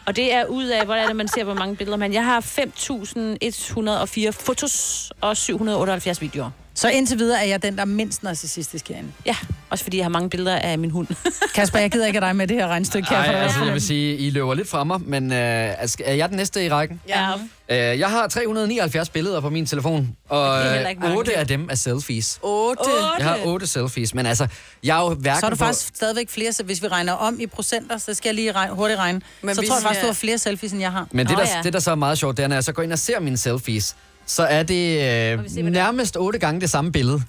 Og det er ud af, hvordan er det, man ser, hvor mange billeder man... Jeg har 5.104 fotos og 778 videoer.
Så indtil videre er jeg den, der er mindst narcissistisk herinde.
Ja, også fordi jeg har mange billeder af min hund.
Kasper, jeg gider ikke af dig med det her regnstykke. Kan jeg få
Ej,
dig
altså, jeg vil sige, I løber lidt fra mig, men øh, altså, er jeg den næste i rækken?
Ja.
Øh, jeg har 379 billeder på min telefon, og
Det er heller ikke mange.
8 af dem er selfies.
8.
Jeg har 8 selfies, men altså, jeg er jo hverken
Så er du
på...
faktisk stadigvæk flere, så hvis vi regner om i procenter, så skal jeg lige regne, hurtigt regne. Men
Men
så
hvis
tror jeg faktisk,
jeg-
du har flere selfies, end jeg har.
Men det,
Nå
der,
ja.
det, der så er meget sjovt, det er, når jeg så går ind og ser mine selfies, så er det øh,
vi se, hvad det er?
nærmest otte gange det samme billede.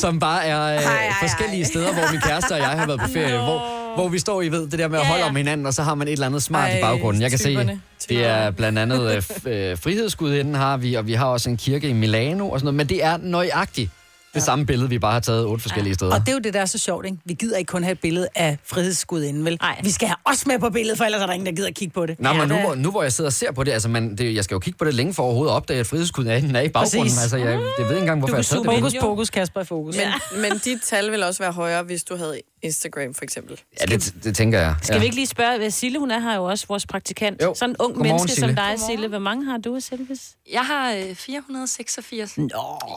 som bare er øh,
ej, ej.
forskellige steder, hvor min kæreste og jeg har været på ferie. Hvor, hvor vi står i ved det der med at
Ja,
holde
ja.
om hinanden, og så har man et eller andet smart i
Ej,
baggrunden. Jeg kan
typerne.
se, det er blandt andet øh, f- øh, frihedsgudinden har vi, og vi har også en kirke i Milano og sådan noget. Men det er nøjagtigt det samme billede, vi bare har taget otte forskellige steder.
Og det er jo det, der er så sjovt, ikke? Vi gider ikke kun have et billede af frihedsskud inden, vel?
Ej.
Vi skal have os med på billedet, for ellers er der ingen, der gider kigge på det.
Nå, men nu,
det-
hvor, nu hvor jeg sidder og ser på det, altså man, det, jeg skal jo kigge på det længe for overhovedet at opdage, at frihedskunden er, den er i baggrunden.
Præcis.
Altså, jeg, jeg ved ikke engang, hvorfor jeg har taget det.
Fokus, fokus, Kasper i fokus. Men,
Men, men dit tal vil også være højere, hvis du havde Instagram, for eksempel.
Ja, det, det tænker jeg.
Skal
ja.
vi ikke lige spørge, hvad Sille, hun er her jo også, vores praktikant.
Jo.
Sådan en ung
Godmorgen,
menneske
Sille.
som dig, Sille. Hvor mange har du af selfies?
Jeg har øh, 486. Nå.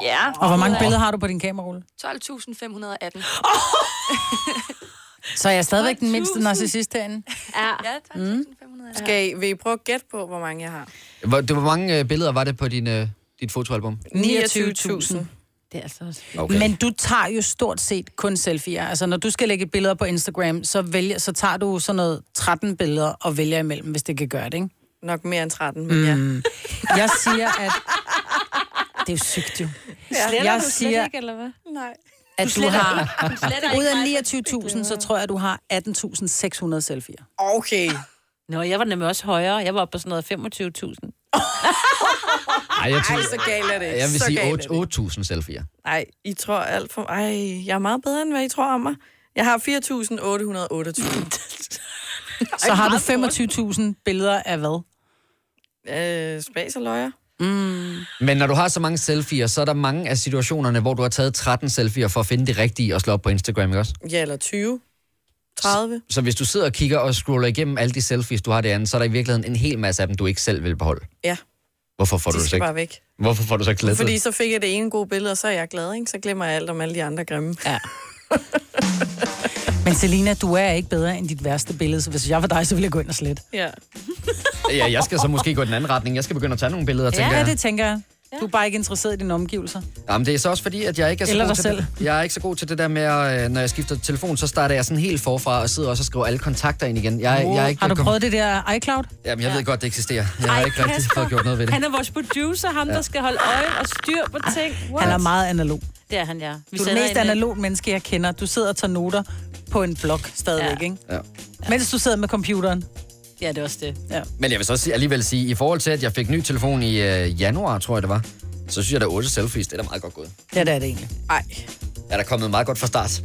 Ja.
og hvor mange billeder har du på din kamerarulle?
12.518.
Så er jeg stadigvæk den mindste narcissist herinde.
Ja.
Ah.
Ja, 12.518.
Skal I, vil I prøve at gætte på, hvor mange jeg har?
Hvor, det, hvor mange øh, billeder var det på din, øh, dit fotoalbum?
29.000.
Det er altså også...
Okay.
Okay. Men du tager jo stort set kun selfies. Altså, når du skal lægge billeder på Instagram, så, vælger, så tager du sådan noget 13 billeder og vælger imellem, hvis det kan gøre det, ikke?
Nok mere end 13, men
Mm.
ja.
Jeg siger, at... Det er jo sygt, jo.
Sletter
Jeg
du slet
siger,
ikke, eller hvad?
Nej.
at du har...
Sletter
Ud
ikke
af
mig.
29.000, så tror jeg, at du har 18.600 selfies.
Okay.
Nå, jeg var nemlig også højere. Jeg var oppe på sådan noget 25.000.
Ej, jeg,
Ej,
tror,
så galt er det ikke.
jeg vil
så
sige
galt er
otte-
det ikke.
8.000 selfies.
Ej, I tror alt for... Ej, jeg er meget bedre, end hvad I tror om mig. Jeg har 4.828.
Så har du 25.000 billeder af hvad?
Øh, spas og løjer.
Men når du har så mange selfies, så er der mange af situationerne, hvor du har taget 13 selfier for at finde det rigtige og slå op på Instagram, ikke også?
Ja, eller 20. 30.
Så hvis du sidder og kigger og scroller igennem alle de selfies, du har derinde, så er der i virkeligheden en hel masse af dem, du ikke selv vil beholde.
Ja,
Hvorfor får, du
de
så
skal
ikke,
bare væk.
hvorfor får du så ikke glædet
Fordi så fik jeg det ene gode billede, og så er jeg glad, ikke? Så glemmer jeg alt om alle de andre grimme.
Ja. Men Selina, du er ikke bedre end dit værste billede, så hvis jeg var dig, så ville jeg gå ind og slet.
Ja.
Ja, jeg skal så måske gå i den anden retning. Jeg skal begynde at tage nogle billeder, tænker
Ja,
jeg.
det tænker jeg. Du er bare ikke interesseret i dine omgivelser.
Jamen, det er så også fordi, at jeg ikke er så
Eller
god
dig
til
selv.
Det. Jeg er ikke så god til det der med, at, øh, når jeg skifter telefon, så starter jeg sådan helt forfra og sidder også og skriver alle kontakter ind igen. Jeg, jeg er ikke
Har du
kom-
prøvet det der iCloud?
Jamen, jeg ved godt, det eksisterer. Jeg har
Ej,
ikke rigtig
Kasper,
fået gjort noget ved det.
Han er vores producer, ham der skal holde øje og styr på ting. What?
Han er meget analog.
Det er han, ja. Vi
Du er den
sætter
mest
en-
analoge menneske, jeg kender. Du sidder og tager noter på en blog stadigvæk,
Ja.
ikke?
Ja.
Mens du sidder med computeren.
Ja, det er også det.
Men jeg vil så sige- alligevel sige, i forhold til, at jeg fik ny telefon i øh, januar, tror jeg det var, så synes jeg, at 8 selfies, det er da meget godt gået.
Ja, det er det egentlig.
Ej,
Er der kommet meget godt fra start?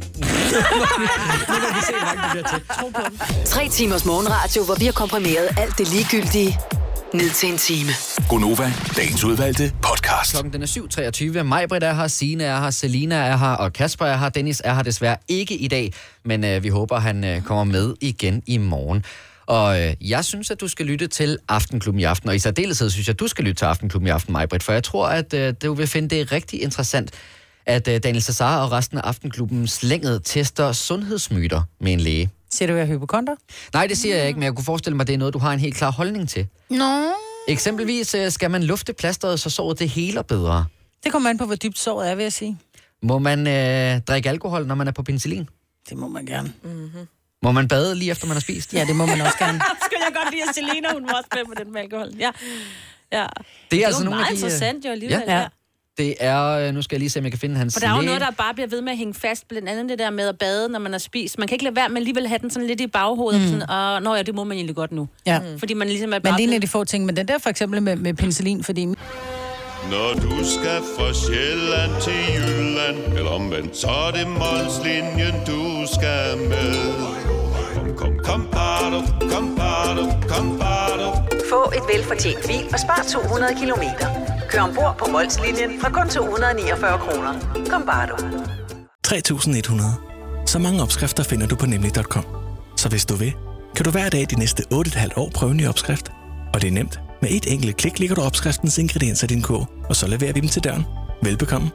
Tre timers morgenradio, hvor vi har komprimeret alt det ligegyldige ned til en time.
Gonova, dagens udvalgte podcast.
Klokken den er 7.23. Majbrit er her, Sine er her, Selina er her, og Kasper er her. Dennis er her desværre ikke i dag, men øh, vi håber, han øh, kommer med igen i morgen. Og øh, jeg synes, at du skal lytte til Aftenklubben i aften, og i særdeleshed synes jeg, at du skal lytte til Aftenklubben i aften, Majbrit, for jeg tror, at øh, du vil finde det rigtig interessant, at øh, Daniel Cesar og resten af Aftenklubben slænget tester sundhedsmyter med en læge.
Siger du, jeg er hypokonter?
Nej, det siger jeg ikke, men jeg kunne forestille mig, at det er noget, du har en helt klar holdning til.
Nå.
Eksempelvis øh, skal man lufte plasteret, så såret det heler bedre.
Det kommer an på, hvor dybt såret er, vil jeg sige.
Må man øh, drikke alkohol, når man er på penicillin?
Det må man gerne.
Mm.
Må man bade lige efter, man har spist?
Ja, det må man også gerne.
Skulle jeg godt lide, at Selena, hun var også med på den med alkohol. Ja. ja. Det
det
er
er
altså jo
nogle af
meget
de, øh,
interessant jo alligevel.
Ja.
Ja.
Ja. Det er, øh, nu skal jeg lige se, om jeg kan finde hans
For der er jo
læge.
noget, der bare bliver ved med at hænge fast, blandt andet det der med at bade, når man har spist. Man kan ikke lade være med alligevel have den sådan lidt i baghovedet, mm. sådan, og nå ja, det må man egentlig godt nu.
Ja.
Fordi man ligesom er
Men
bare...
det er en af
blevet-
de få ting. Men den der for eksempel med, med penicillin, fordi
Når du skal fra Sjælland til Jylland Eller omvendt, så er det Molslinjen, du skal med Kom, kom, kom, bado, kom, bado, kom, bado.
Få et velfortjent bil og spar 200 kilometer. Kør ombord på Molslinjen fra kun 249 kroner. Kom bare du.
3100. Så mange opskrifter finder du på nemlig.com. Så hvis du vil, kan du hver dag de næste 8,5 år prøve en ny opskrift. Og det er nemt. Med et enkelt klik ligger du opskriftens ingredienser i din kog, og så leverer vi dem til døren. Velbekomme.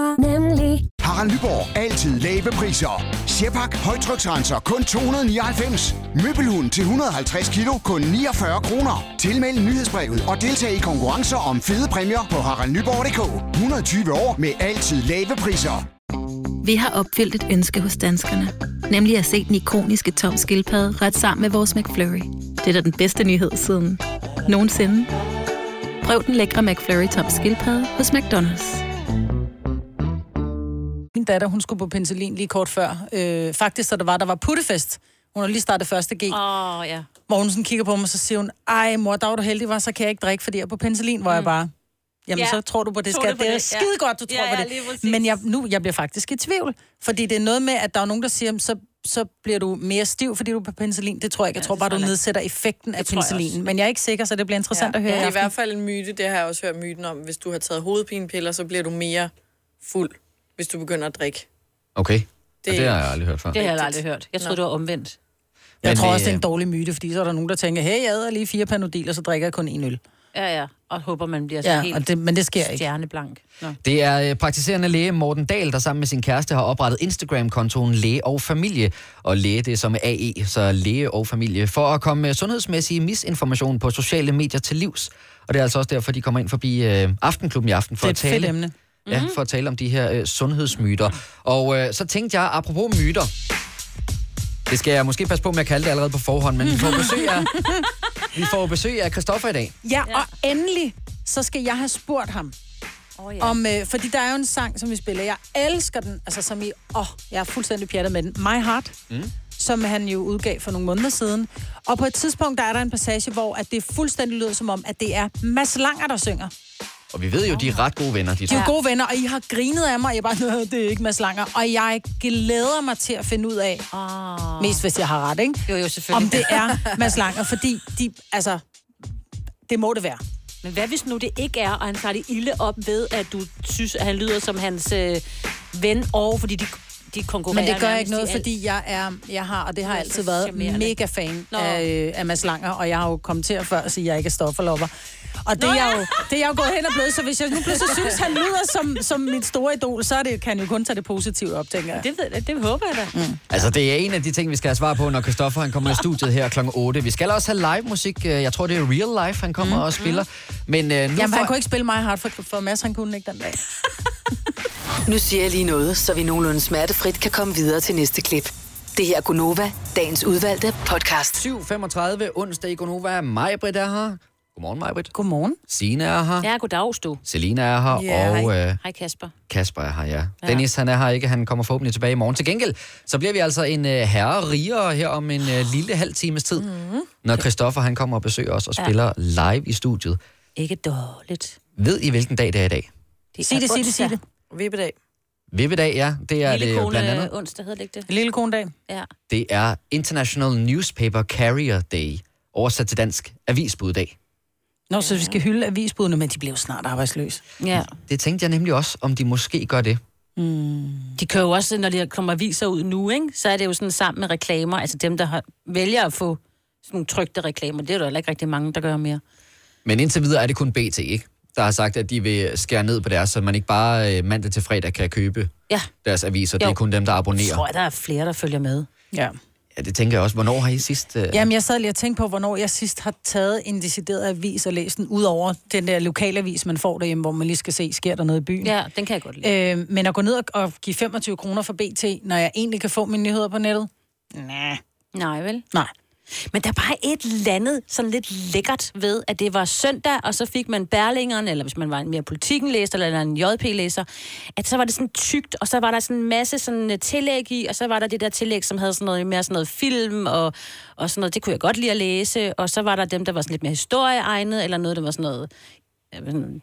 Harald Nyborg. Altid lave priser. Sjehpak. Højtryksrenser. Kun 299. Møbelhund til 150 kilo. Kun 49 kroner. Tilmeld nyhedsbrevet og deltag i konkurrencer om fede præmier på haraldnyborg.dk. 120 år med altid lave priser.
Vi har opfyldt et ønske hos danskerne. Nemlig at se den ikoniske tom skildpadde ret sammen med vores McFlurry. Det er da den bedste nyhed siden nogensinde. Prøv den lækre McFlurry tom skildpadde hos McDonald's.
min datter, hun skulle på penicillin lige kort før. Øh, faktisk, da der var, der var puttefest. Hun har lige startet første G. Oh.
Åh, oh, ja.
Hvor hun sådan kigger på mig, og så siger hun, ej mor, der var du heldig, var, så kan jeg ikke drikke, fordi jeg er på penicillin, hvor jeg bare... Jamen,
Mm. Ja.
så tror du på det,
Tror
skat.
du på
Det er
det? Ja.
skide godt, du tror
Ja, ja,
på
lige
det.
præcis.
Men jeg, nu, jeg bliver faktisk i tvivl. Fordi det er noget med, at der er nogen, der siger, så, så bliver du mere stiv, fordi du er på penicillin. Det tror jeg ikke. Jeg
Ja,
tror
det
bare,
tror
du
jeg ikke.
nedsætter effekten af
tror jeg også.
penicillinen. Men jeg er ikke sikker, så det bliver interessant at høre
Det
ja.
er i
i
hvert
aften.
fald en myte, det har jeg også hørt myten om. Hvis du har taget hovedpinepiller, så bliver du mere fuld, hvis du begynder at drikke.
Okay, det,
Det-
det har jeg aldrig hørt før.
Det har jeg aldrig hørt. Jeg troede, det var omvendt.
Jeg
Men,
tror også, det er en
øh,
dårlig myte, fordi så er der nogen, der tænker, hey, jeg æder lige fire panodil, og så drikker jeg kun en øl.
Ja, ja. Og håber, man bliver så
Ja,
helt
og det, men det sker ikke.
stjerneblank. Nå.
Det er øh, praktiserende læge Morten Dahl, der sammen med sin kæreste har oprettet Instagram-kontoen Læge og Familie. Og læge det er som AE, så læge og familie, for at komme øh, sundhedsmæssig misinformation på sociale medier til livs. Og det er altså også derfor, de kommer ind forbi øh, Aftenklubben i aften for
Det er
at
et
tale.
fedt emne. Mhm.
Ja, for at tale om de her øh, sundhedsmyter. Og øh, så tænkte jeg, apropos myter, det skal jeg måske passe på med at kalde det allerede på forhånd, men vi får besøg af, vi får besøg af Christoffer i dag.
Ja, og endelig, så skal jeg have spurgt ham.
Oh, ja.
Om, øh, fordi der er jo en sang, som vi spiller. Jeg elsker den. Altså, som i... Åh, jeg er fuldstændig pjattet med den. My Heart. Mm. Som han jo udgav for nogle måneder siden. Og på et tidspunkt, der er der en passage, hvor at det fuldstændig lyder som om, at det er Mads Langer, der synger.
Og vi ved jo, de er ret gode venner, de
De
to.
er jo gode venner, og I har grinet af mig. og Jeg er bare, "Nå, det er ikke Mads Langer. Og jeg glæder mig til at finde ud af,
Oh.
mest hvis jeg har ret, ikke?
Jo, jo,
om
selvfølgelig.
det er Mads Langer, fordi de, altså, Det må det være.
Men hvad hvis nu det ikke er, og han tager det ilde op ved, at du synes, at han lyder som hans øh, ven, og fordi de, de konkurrerer
Men det gør
nærmest
ikke
i
noget,
alt.
fordi jeg, er, jeg har, og det har
Du er
altid
så
været,
charmerende.
mega fan
Nå.
af, øh, af Mads Langer, og jeg har jo kommenteret før og sige, at jeg ikke er stofferlopper. Og det,
Nå
er
ja.
jeg jo, det er jeg jo gået hen og blevet, så hvis jeg nu pludselig synes, han lyder som, som mit store idol, så er det, kan jeg jo kun tage det positive op, tænker jeg.
Det, ved, jeg- det håber jeg da. Mm.
Altså, det er en af de ting, vi skal have svar på, når Kristoffer han kommer i studiet her kl. 8. Vi skal også have live musik. Øh, Jeg tror, det er real life, han kommer mm.
Mhm.
og spiller. Men øh, nu
Jamen,
får...
han kunne ikke spille mig hard for, for Mads, han kunne ikke den dag.
Nu siger jeg lige noget, så vi nogenlunde smertefrit kan komme videre til næste klip. Det her er Gunova, dagens udvalgte podcast.
7.35 onsdag i Gonova. Majbrit er her. Godmorgen, Majbrit.
Godmorgen.
Sine er her.
Ja, goddag, Stu.
Selina er her.
Ja,
og
hej.
øh,
hej Kasper.
Kasper er her, ja.
Ja.
Dennis, han er her ikke. Han kommer forhåbentlig tilbage i morgen. Til gengæld, så bliver vi altså en øh, herre rigere her om en øh, lille halv times tid, mm. når Kristoffer han kommer og besøger os og
Mhm. Ja.
spiller live i studiet.
Ikke dårligt.
Ved I, hvilken dag det er i dag?
Det
Sig
er
det, sig det, sig
onsdag.
det.
Vippedag.
Vippedag, ja. Det er det
Lille
jo
kone øh,
blandt andet.
onsdag hedder det ikke det?
Lille kone dag.
Ja.
Det er International Newspaper Carrier Day, oversat til dansk avisbuddag.
Nå, så vi skal hylde avisbudene, men de blev snart arbejdsløse.
ja.
Det tænkte jeg nemlig også, om de måske gør det.
De kører jo også, når de kommer aviser ud nu, ikke? så er det jo sådan sammen med reklamer. Altså dem, der har, vælger at få sådan nogle trygte reklamer, det er der heller ikke rigtig mange, der gør mere.
Men indtil videre er det kun BT, ikke? der har sagt, at de vil skære ned på deres, så man ikke bare øh, mandag til fredag kan købe
Ja,
deres aviser. Det er
Jo.
kun dem, der
jeg tror,
abonnerer.
at der er flere, der følger med.
Ja.
Ja, det tænker jeg også. Hvornår har I sidst... Øh...
Jamen, jeg sad lige og tænkte på, hvornår jeg sidst har taget en decideret avis og læst den, ud over den der lokalavis, man får derhjemme, hvor man lige skal se, sker der noget i byen.
Ja, den kan jeg godt lide.
Øh, men at gå ned og, og give 25 kroner for BT, når jeg egentlig kan få mine nyheder på nettet? Nej.
Nej, vel?
Nej.
Men der er bare et eller andet sådan lidt lækkert ved, at det var søndag, og så fik man Berlingeren, eller hvis man var en mere politikenlæser, eller en JP-læser, at så var det sådan tykt, og så var der sådan en masse sådan øh, tillæg i, og så var der det der tillæg, som havde sådan noget mere sådan noget film, og, og sådan noget, det kunne jeg godt lide at læse, og så var der dem, der var sådan lidt mere historieegnet, eller noget, der var sådan noget øh, sådan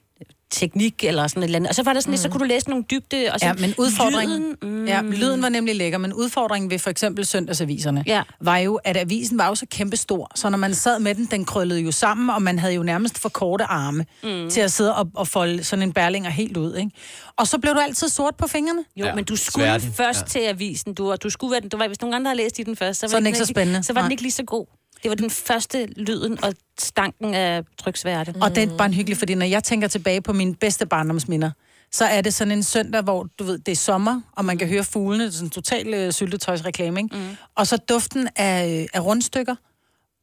teknik, eller sådan et eller andet. Og så var der sådan lidt, så kunne du læse nogle dybde, og så
Mm. Ja, men udfordringen...
Lyden, mm,
Ja, lyden var nemlig lækker, men udfordringen ved for eksempel søndagsaviserne
Ja.
var jo, at avisen var jo så kæmpestor, så når man sad med den, den krøllede jo sammen, og man havde jo nærmest for korte arme
Mm.
mm. til at sidde og, og folde sådan en berlinger helt ud, ikke? Og så blev du altid sort på fingrene.
Jo, ja, men du skulle sværden. først ja. til avisen. Du, og du skulle være den, du var, hvis nogen andre havde læst i den først, så var
Så er den ikke så spændende.
Så var den
Nej.
ikke lige så god. Det var den første lyden og stanken af tryksværte.
Og det er bare en hyggelig, fordi når jeg tænker tilbage på mine bedste barndomsminder, så er det sådan en søndag, hvor du ved, det er sommer, og man kan høre fuglene, det er sådan en total øh, syltetøjsreklame, ikke? Mm. Og så duften af, øh, af rundstykker,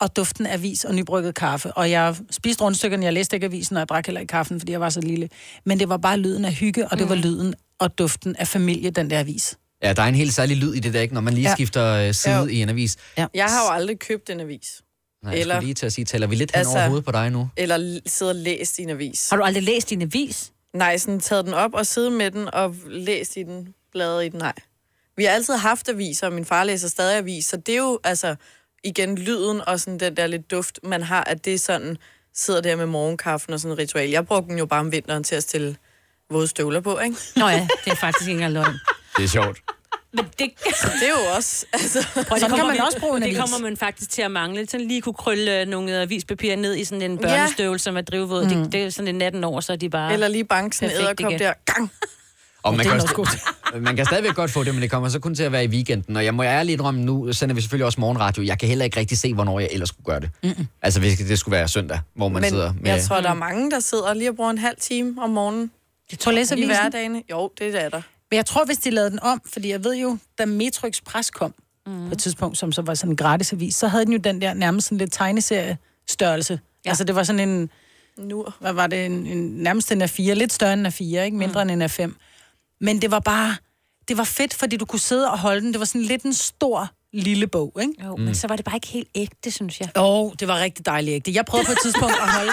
og duften af vis og nybrygget kaffe. Og jeg spiste rundstykkerne, jeg læste ikke avisen, og jeg drak heller ikke kaffen, fordi jeg var så lille. Men det var bare lyden af hygge, og det var lyden og duften af familie, den der avis.
Ja, der er en helt særlig lyd i det der, ikke? Når man lige ja.
Ja.
skifter øh, side
Jo.
i en avis.
Ja.
Jeg har jo aldrig købt en avis.
Nej, jeg
Eller-
skulle lige til at sige, taler vi lidt hen
Altså-
over hovedet på dig nu?
Eller l- sidde og læst i en avis.
Har du aldrig læst din avis?
Nej, sådan taget den op og siddet med den og læst i den, bladret i den, nej. Vi har altid haft aviser, og min far læser stadig avis, så det er jo altså igen lyden og sådan den der lidt duft, man har, at det er sådan, sidder der med morgenkaffen og sådan et ritual. Jeg brugte den jo bare om vinteren til at stille våde støvler på, ikke?
Nå ja, det er faktisk ikke engang løgn.
Det er sjovt.
Men det...
det er jo også... Altså...
Prøv,
Sådan kan man også bruge en
Det
avis.
kommer man faktisk til at mangle. Sådan lige kunne krølle øh, nogle avispapir ned i sådan en børnestøvle, som er drivvåd. Mm. Det, det, er sådan en natten over, så er de bare...
Eller lige banke sådan en
perfekt igen.
edderkop der. Gang!
Og man,
det er
kan
noget
også, man kan stadigvæk godt få det, men det kommer så kun til at være i weekenden. Og jeg må ærligt indrømme, nu sender vi selvfølgelig også morgenradio. Jeg kan heller ikke rigtig se, hvornår jeg ellers skulle gøre det. Mm-mm. Altså, hvis det skulle være søndag, hvor man
Men
sidder med...
jeg tror, der er mange, der sidder lige og bruger en halv time om morgenen.
Jeg tror, læser
I
avisen.
hverdagene. Jo, det er der.
Men jeg tror, hvis de lavede den om, fordi jeg ved jo, da Metro Express kom mm. på et tidspunkt, som så var sådan en gratis avis, så havde den jo den der nærmest sådan lidt tegneserie-størrelse. Ja. Altså det var sådan en,
nu,
hvad var det, en, en, nærmest en af fire, lidt større end af fire, ikke mindre mm. end af fem. Men det var bare, det var fedt, fordi du kunne sidde og holde den. Det var sådan lidt en stor lille bog, ikke?
Jo, men så var det bare ikke helt ægte, synes jeg.
Åh, oh, det var rigtig dejligt ægte. Jeg prøvede på et tidspunkt at holde...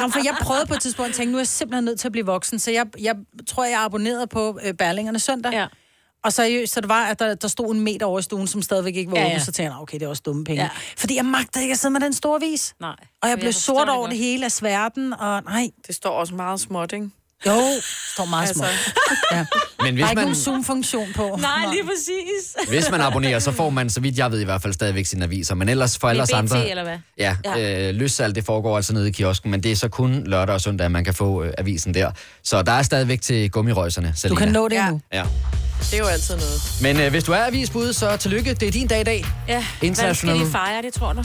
Nå, for jeg prøvede på et tidspunkt at tænke, nu er jeg simpelthen nødt til at blive voksen, så jeg, jeg tror, jeg abonnerede på øh, Berlingerne søndag.
Ja.
Og seriøst, så det var, at der, der stod en meter over i stuen, som stadigvæk ikke var
Ja,
ja,
ja.
åben, så tænkte jeg, "Nå, okay, det er også dumme penge.
Ja.
Ja. Fordi jeg magtede ikke at sidde med den store vis.
Nej.
Og jeg
Jeg
blev
forstår
sort
det
over
godt.
det hele af sværden, og nej.
Det står også meget småt, ikke?
Jo, står meget små.
Altså.
Ja.
Men
der
hvis
er ikke
man-
nogen zoom-funktion på.
Nej, lige præcis.
Hvis man abonnerer, så får man, så vidt jeg ved i hvert fald, stadigvæk sine aviser. Men ellers for
Med
alle os
BT,
andre...
eller hvad?
Ja,
Ja.
ja. Øh, løssalg, det foregår altså nede i kiosken, men det er så kun lørdag og søndag, man kan få øh, avisen der. Så der er stadigvæk til gummirøjserne,
Du
Selina.
kan nå det ja. nu.
Ja.
Det er jo altid noget.
Men øh, hvis du er avisbud, så tillykke. Det er din dag i dag.
Ja, hvad skal
International.
de fejre, det tror du?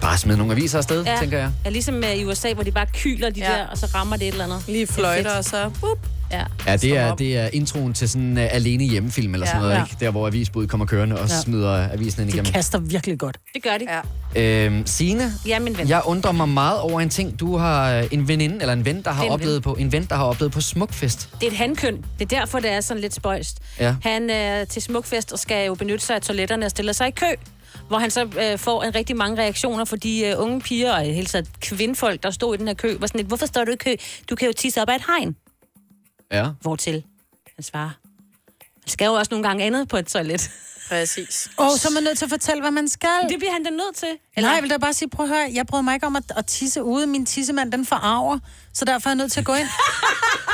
Bare smid nogle aviser afsted, ja. tænker jeg.
Ja, ligesom øh, i USA, hvor de bare kyler de ja. der, og så rammer det et eller andet.
Lige fløjter, og så... uh! Whoop.
Ja.
Ja, det er, det er introen til sådan uh, alene hjemmefilm eller sådan
Ja.
noget,
Ja.
ikke? Der, hvor avisbuddet kommer kørende og
Ja.
ja. smider øh, avisen ind igennem.
kaster virkelig godt.
Det gør de. Ja.
Øhm, Signe,
Ja, min ven.
jeg undrer mig meget over en ting. Du har øh, en veninde, eller en ven, der har
Det er en
oplevet
ven.
på, en ven, der har oplevet på Smukfest.
Det er et handkøn. Det er derfor, det er sådan lidt spøjst.
Ja.
Han øh, til smukfest og skal jo benytte sig af toiletterne og stiller sig i kø. Hvor han så øh, får en rigtig mange reaktioner fra de øh, unge piger og i det hele taget kvindfolk, der stod i den her kø. Var sådan lidt, hvorfor står du i kø? Du kan jo tisse op ad et hegn.
Ja.
Hvortil? Han svarer, man skal jo også nogle gange andet på et toilet.
Præcis.
Åh, oh, så er man nødt til at fortælle, hvad man skal.
Det bliver han da nødt til.
Eller? Nej, jeg vil da bare sige, prøv at høre, jeg bryder mig ikke om at, at tisse ude. Min tissemand, den forarver, så derfor er jeg nødt til at gå ind.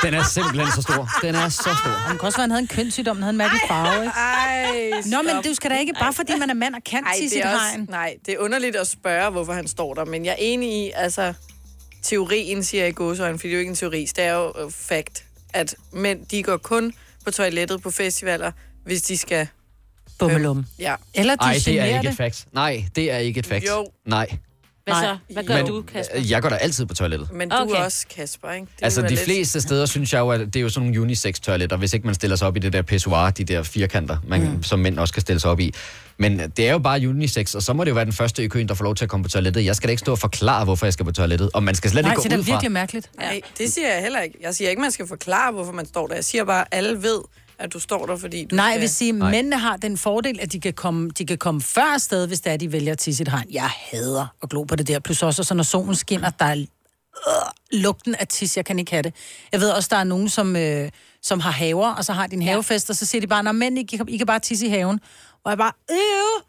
Den er simpelthen så stor. Den er så stor.
Det kan også være, at han havde en kønssygdom, den havde en mærkelig farve, ikke?
Ej,
Nå, men
stop.
du skal da ikke, bare fordi man er mand og kan
Ej,
tisse i
det
et
er også,
Øhm.
hegn.
Nej, det er underligt at spørge, hvorfor han står der, men jeg er enig i, altså, teorien siger jeg i gåsøjne, fordi det er jo ikke en teori, det er jo øh, fact, at mænd, de går kun på toilettet på festivaler, hvis de skal...
Bummelum.
Ja.
Eller
Ah,
Nej, det er ikke et fact. Nej, det er ikke et fact.
Jo.
Nej.
Hvad
Nej.
så? Hvad gør
Men-
du, Kasper?
Jeg går da altid på toilettet.
Men du
Okay.
okay. også, Kasper, ikke? Det
Altså,
ville
de
være lidt-
fleste steder synes jeg jo, at det er jo sådan nogle unisex-toiletter, hvis ikke man stiller sig op i det der pissoir, de der firkanter, man, mm. som mænd også kan stille sig op i. Men det er jo bare unisex, og så må det jo være den første i køen, der får lov til at komme på toilettet. Jeg skal da ikke stå og forklare, hvorfor jeg skal på toilettet, og man skal slet
Nej,
ikke
så
gå
det
ud
er
fra.
virkelig mærkeligt.
Nej, det siger jeg heller ikke. Jeg siger ikke, man skal forklare, hvorfor man står der. Jeg siger bare, at alle ved, at du står der, fordi du
Nej, jeg
skal...
vil sige, at mændene har den fordel, at de kan komme, de kan komme før afsted, hvis det er, de vælger at tisse i et hegn. Jeg hader at glo på det der. Plus også, så når solen skinner, der er øh, lugten af tis, jeg kan ikke have det. Jeg ved også, der er nogen, som, øh, som har haver, og så har din havefest, og så siger de bare, at mænd, I, kan- I kan bare tisse i haven. Og jeg bare, øh,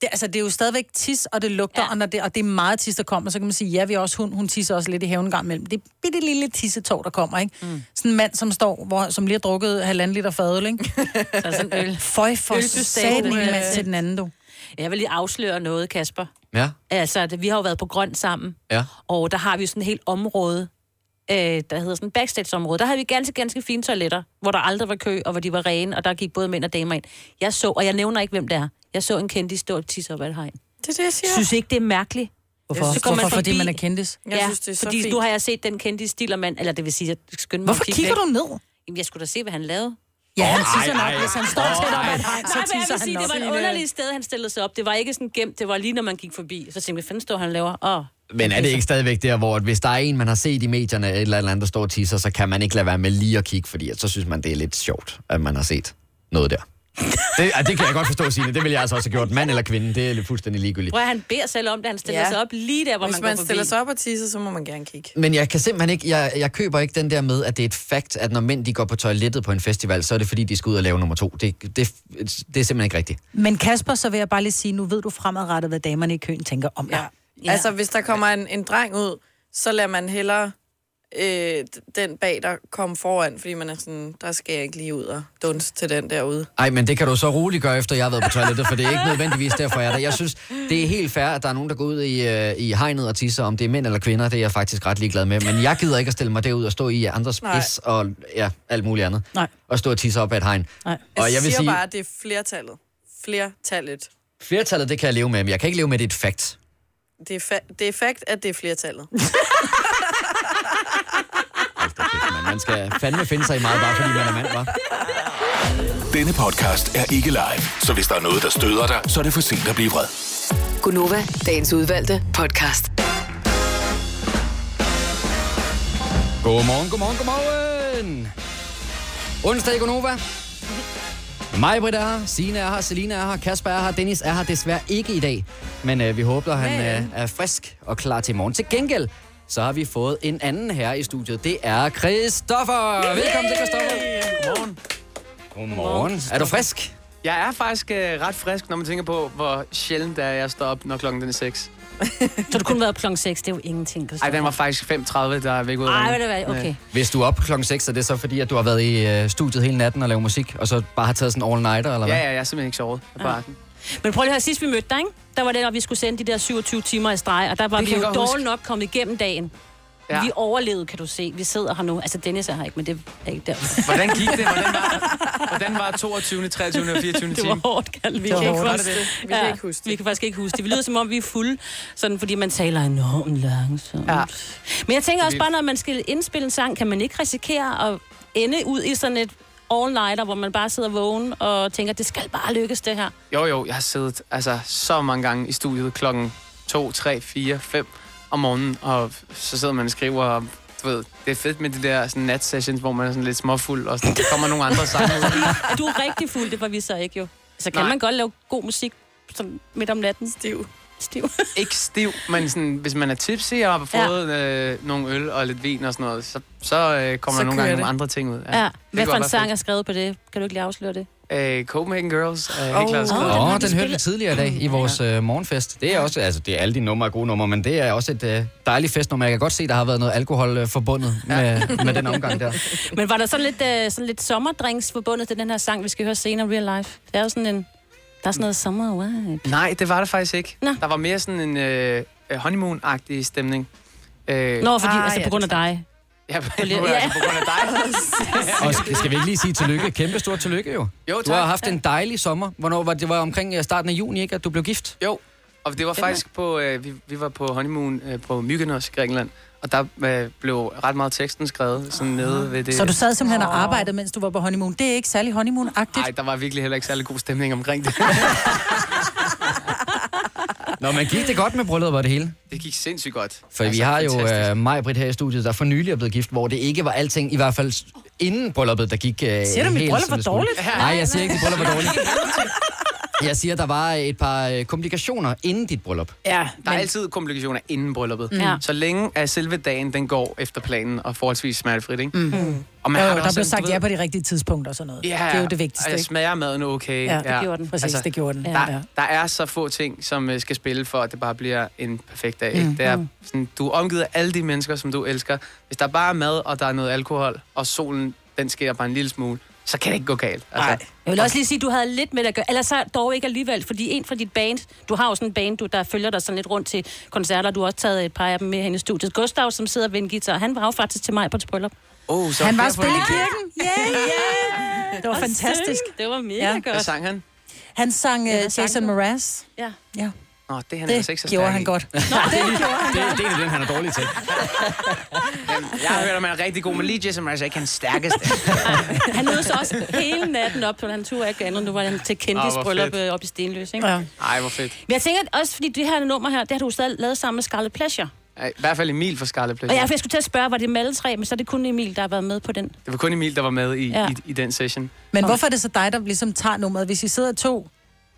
det, altså, det er jo stadigvæk tis, og det lugter, ja. og, når det, og det er meget tis, der kommer. Så kan man sige, ja, vi har også hund, hun tisser også lidt i haven en gang imellem. Det er bitte lille tissetog, der kommer, ikke? Mm. Sådan en mand, som står, hvor, som lige har drukket halvanden liter fadøl, ikke?
Så er sådan Altså, øl.
Føj for
Ølsystem.
satan, en mand til den anden, du.
Jeg vil lige afsløre noget, Kasper.
Ja,
Altså, det- vi har jo været på grøn sammen,
ja.
og der har vi jo sådan et helt område, øh, der hedder sådan backstage-område. Der havde vi ganske, ganske fine toiletter, hvor der aldrig var kø, og hvor de var rene, og der gik både mænd og damer ind. Jeg så, og jeg nævner ikke, hvem det er, jeg så en kendis stå og tisse op ad et hegn.
Det er det, jeg siger.
Synes ikke, det er mærkeligt?
Hvorfor?
Så kommer man
Hvorfor? Fordi
forbi-
man er kendis?
Jeg synes, det er så
fordi
fint.
nu har jeg set den kendte stillermand, eller det vil sige, jeg skyndte mig
Hvorfor
at kigge
kigger
væk.
du ned?
Jamen, jeg skulle da se, hvad han lavede.
Ja, han
Åh,
tisser
ej,
nok,
ej.
hvis han står
Åh,
tæt op
ej.
ad et hegn, så
Nej, men jeg vil
tisser han øh,
sige,
nok.
det var et underligt sted, han stillede sig op. Det var ikke sådan gemt, det var lige, når man gik forbi. Så tænkte jeg, hvad fanden står han og laver? Åh,
Men er det ikke stadigvæk der, hvor at hvis der er en, man har set i medierne, eller et eller andet, der står og tisser, så kan man ikke lade være med lige at kigge, fordi at så synes man, det er lidt sjovt, at man har set noget der. Det, ah, det kan jeg godt forstå, Signe. Det vil jeg altså også have gjort. Mand eller kvinde, det er lidt fuldstændig ligegyldigt.
Prøv at han beder selv om det, han stiller ja.
Ja.
sig op lige der, hvor
Hvis
man
man
går
stiller
forbi.
sig op og tisser, så må man gerne kigge.
Men jeg kan simpelthen ikke, jeg, jeg køber ikke den der med, at det er et fakt, at når mænd de går på toilettet på en festival, så er det fordi, de skal ud og lave nummer to. Det, det, det er simpelthen ikke rigtigt.
Men Kasper, så vil jeg bare lige sige, nu ved du fremadrettet, hvad damerne i køen tænker om dig.
Ja. Altså, hvis der kommer en, en dreng ud, så lader man hellere øh, d- den bag der komme foran, fordi man er sådan, der skal jeg ikke lige ud og dunse til den derude.
Ej, men det kan du så roligt gøre, efter jeg har været på toilettet, for det er ikke nødvendigvis derfor, jeg er der. Jeg synes, det er helt fair, at der er nogen, der går ud i, øh, i hegnet og tisser, om det er mænd eller kvinder, det er jeg faktisk ret ligeglad med. Men jeg gider ikke at stille mig derud og stå i andres
Nej.
pis og ja, alt muligt andet.
Nej.
Og stå og tisse op ad et hegn.
Nej.
Jeg,
Og jeg vil
siger
sige,
bare, at det er flertallet. Flertallet.
flertallet, det kan jeg leve med, men jeg kan ikke leve med, det er et fakt.
Det er, fa- det er fakt, at det er flertallet.
Man, man skal fandme finde sig i meget, bare fordi man er mand, var.
Denne podcast er ikke live, så hvis der er noget, der støder dig, så er det for sent at blive vred.
Gunova, dagens udvalgte podcast.
Godmorgen, godmorgen, godmorgen. Onsdag i Gonova. Mig, Britt, er her, Signe er her, Selina er her, Kasper er her, Dennis er her desværre ikke i dag. Men øh, vi håber, at han øh, er frisk og klar til i morgen. Til gengæld, så har vi fået en anden her i studiet. Det er Christoffer. Velkommen til Christoffer. Godmorgen. Godmorgen. Er du frisk?
Jeg er faktisk øh, ret frisk, når man tænker på, hvor sjældent det er, jeg står op, når klokken den er 6.
Så du kunne været på klokken 6, det er jo ingenting.
Ej, den var faktisk 5.30, der er væk ud af
Ej, ved
ringen.
du hvad, okay.
Hvis du er op klokken 6, er det så fordi, at du har været i øh, studiet hele natten og lavet musik, og så bare har taget sådan en all-nighter, eller
Ja,
hvad?
ja, jeg har simpelthen ikke sovet på
Ja.
aftenen.
Men prøv lige her, sidst vi mødte dig, ikke? der var det, når vi skulle sende de der 27 timer i streg, og der var
Det
vi
kan
jo
jeg godt
dårligt
huske.
nok kommet igennem dagen.
Ja.
Ja. Vi overlevede, kan du se. Vi sidder her nu. Altså, Dennis er her ikke, men det er ikke der.
Hvordan gik det? Hvordan var, hvordan var 22., 23. og 24. time?
Det var hårdt, Kalle. Vi
Det var
kan ikke
hårdt.
huske
Var det
det. Vi kan ikke huske det. Vi kan faktisk ikke huske det. Vi lyder som om, vi er fulde, sådan, fordi man taler enormt langsomt. Ja. Men jeg tænker også bare, når man skal indspille en sang, kan man ikke risikere at ende ud i sådan et all-nighter, hvor man bare sidder vågen og tænker, det skal bare lykkes, det her.
Jo, jo, jeg har siddet altså, så mange gange i studiet klokken 2, 3, 4, 5 om morgenen, og så sidder man og skriver, og du ved, det er fedt med de der sådan, nat-sessions, hvor man er sådan lidt småfuld, og sådan, der kommer nogle andre sange ud.
Du er rigtig fuld, det var vi så ikke jo. Så kan
Nej.
Nej. man godt lave god musik som midt om natten. Stiv. Stiv.
Ikke stiv, men sådan, hvis man er tipsy og har fået ja. øh, nogle øl og lidt vin og sådan noget, så, så øh, kommer
Så
så der
kører
nogle gange
det.
nogle andre ting ud.
Ja. ja.
Det
Hvad
kunne
for en
være
sang er skrevet på det? Kan du ikke lige afsløre det?
fedt. Øh, Copenhagen Girls er
Åh,
helt klart skrevet.
oh, den, hørte vi tidligere i dag i vores øh, morgenfest. Det er også, altså det er alle de numre er gode numre, men det er også et øh, dejligt festnummer. Jeg kan godt se, der har været noget alkohol øh, forbundet med, med den omgang der.
Men var der sådan lidt, øh, sådan lidt sommerdrinks forbundet til den her sang, vi skal høre senere, Real Life? Det er jo sådan en... Der er sådan noget summer vibe.
Nej, det var der faktisk ikke. Nå. Der var mere sådan en øh, honeymoon-agtig stemning. Øh,
Nå, fordi, ah, altså på grund af dig.
Ja, på,
Ja.
altså, på grund af dig.
Og sk- skal vi ikke lige sige tillykke? Kæmpe stort tillykke jo.
Jo,
Du har
tak.
haft en dejlig sommer. Hvornår var det? det var omkring øh, starten af juni, ikke? At du blev gift?
Jo. Og det var faktisk på, øh, vi, vi var på honeymoon øh, på Mykonos, Grækenland, og der øh, blev ret meget teksten skrevet sådan nede ved det.
Ah. Så du sad simpelthen og arbejdede, mens du var på honeymoon. Det er ikke særlig honeymoon-agtigt.
Nej, der var virkelig heller ikke særlig god stemning omkring det.
Nå, men gik det godt med brylluppet og det hele?
Det gik sindssygt godt.
For altså, vi har jo øh, mig og Britt her i studiet, der for nylig er blevet gift, hvor det ikke var alting, i hvert fald s- inden brylluppet, der gik øh,
Siger du, mit
helt,
bryllup
som
var
det skulle.
dårligt?
Nej, jeg siger ikke, dit bryllup var dårligt. Jeg siger, der var et par øh, komplikationer inden dit bryllup.
Ja,
der er altid komplikationer inden brylluppet.
Mm. Ja.
Så længe at selve dagen, den går efter planen og forholdsvis smertefrit, ikke?
Mm.
Og man
jo,
har
jo,
det
der
også
blev
sådan,
sagt
du ved-
ja på de rigtige tidspunkter og sådan noget.
Ja,
Det er jo det vigtigste,
og jeg
ikke?
smager maden okay.
Ja, det gjorde den. Præcis, det gjorde den.
Der,
Ja. Ja.
der er så få ting, som øh, skal spille for, at det bare bliver en perfekt dag. Ikke?
Mm.
Det er
Mm.
sådan, du er omgivet af alle de mennesker, som du elsker. Hvis der bare er mad, og der er noget alkohol, og solen den sker bare en lille smule, så kan det ikke gå galt. Altså,
Jeg vil også lige sige, at du havde lidt med det at gøre. Eller så dog ikke alligevel, fordi en fra dit band, du har jo sådan en band, du, der følger dig sådan lidt rundt til koncerter. Du har også taget et par af dem med hen i studiet. Gustav, som sidder ved en guitar, han var jo faktisk til mig på et bryllup.
oh, så
Han var
flere
spille i
point.
kirken. Yeah, yeah. Det var
Og
fantastisk.
synge. Det var mega
Ja. Altså.
godt.
Hvad sang han?
Han sang
Ja,
ja,
hvad sang
Jason
du?
Mraz.
Ja.
ja.
Nå, det er han
Det
altså ikke så
gjorde
stærk
han
i.
godt. Nå,
det, det, det er en af dem, han er dårlig til.
Jamen, Jeg har hørt, at man er rigtig god, men lige Jason Mraz er ikke hans stærkeste.
Han nåede så også hele natten op, så han turde ikke andet. Nu var han til
Åh,
Kendis
Ah, hvor
bryllup
fedt.
øh, op i Stenløs, ikke? Ja.
Ej, hvor fedt.
Men jeg tænker at også, fordi det her nummer her, det har du stadig lavet sammen med Scarlett Pleasure.
Ej, I hvert fald Emil fra Scarlet
Og
Pleasure.
jeg, jeg skulle til at spørge, var det med alle tre, men så er det kun Emil, der har været med på den.
Det var kun Emil, der var med i,
Ja.
ja. i, i den session.
Men hvorfor er det så dig, der ligesom tager nummeret? Hvis I sidder to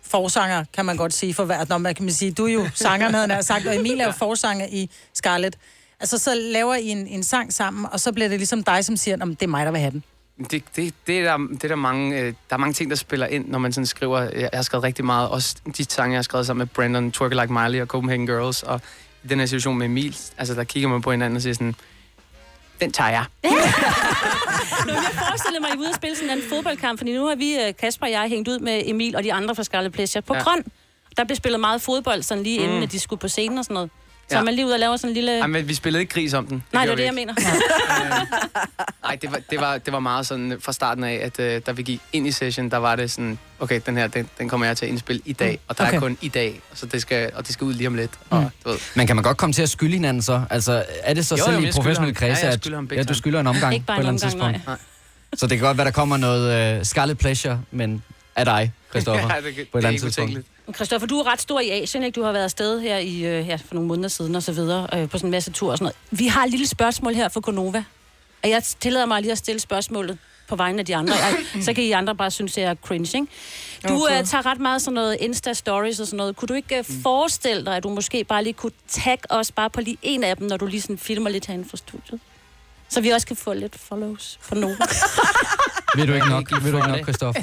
forsanger, kan man godt sige for hver. Nå, man kan man sige, du er jo sangeren, havde jeg nær sagt, og Emil er jo forsanger i Scarlett. Altså, så laver I en, en sang sammen, og så bliver det ligesom dig, som siger, om det er mig, der vil have den.
Det, det, det, er der, det er der mange, øh, der er mange ting, der spiller ind, når man sådan skriver. øh, Jeg, jeg har skrevet rigtig meget, også de sange, jeg har skrevet sammen med Brandon, Twerk Like Miley og Copenhagen Girls, og i den her situation med Emil, altså der kigger man på hinanden og siger sådan, den tager jeg.
Nå, men jeg forestiller mig, at I er ude og spille sådan en anden fodboldkamp, fordi nu har vi, øh, Kasper og jeg, hængt ud med Emil og de andre fra Scarlet Pleasure på
Ja.
ja. Grøn. Der blev spillet meget fodbold, sådan lige inden,
Mm.
at de skulle på scenen og sådan noget. Så
Ja.
ja. man lige ud og laver sådan en lille...
Ej, men vi spillede ikke gris om den.
Nej, det var
gjorde
det,
vi
jeg
ikke.
mener.
Nej, det var, det, var, det var meget sådan øh, fra starten af, at øh, da vi gik ind i session, der var det sådan, okay, den her, den, den kommer jeg til at indspille i dag, og der okay.
Okay.
er kun i dag, så det skal, og det skal ud lige om lidt. Og,
Mm.
du ved,
Men kan man godt komme til at skylde hinanden så? Altså, er det så
Jo, jo, men
selv i
jeg skylder
professionelle
ham. Ja,
kredse,
jeg
at
skylder ham big
ja, du
time.
skylder en omgang
Ikke
på
bare
et
en
eller andet
omgang,
tidspunkt? Så det kan godt være, der kommer noget øh, Scarlet Pleasure, men af dig, Christoffer,
Ja, det kan-
på et eller
det er
andet
ikke
tidspunkt.
utænkeligt.
Christoffer, du er ret stor i Asien, ikke? Du har været afsted her, i, øh, her for nogle måneder siden og så videre, øh, på sådan en masse tur og sådan noget. Vi har et lille spørgsmål her for Gonova. Og jeg tillader mig lige at stille spørgsmålet på vegne af de andre. Jeg, så kan I andre bare synes, at jeg er cringe, ikke? Du
Okay.
øh, tager ret meget sådan noget Insta-stories og sådan noget. Kunne du ikke øh,
Mm.
forestille dig, at du måske bare lige kunne tagge os bare på lige en af dem, når du lige sådan filmer lidt herinde fra studiet? Så vi også kan få lidt follows på Nova.
Ved du ikke
Jeg
nok,
gik
ved du
for
ikke nok,
det.
Christoffer?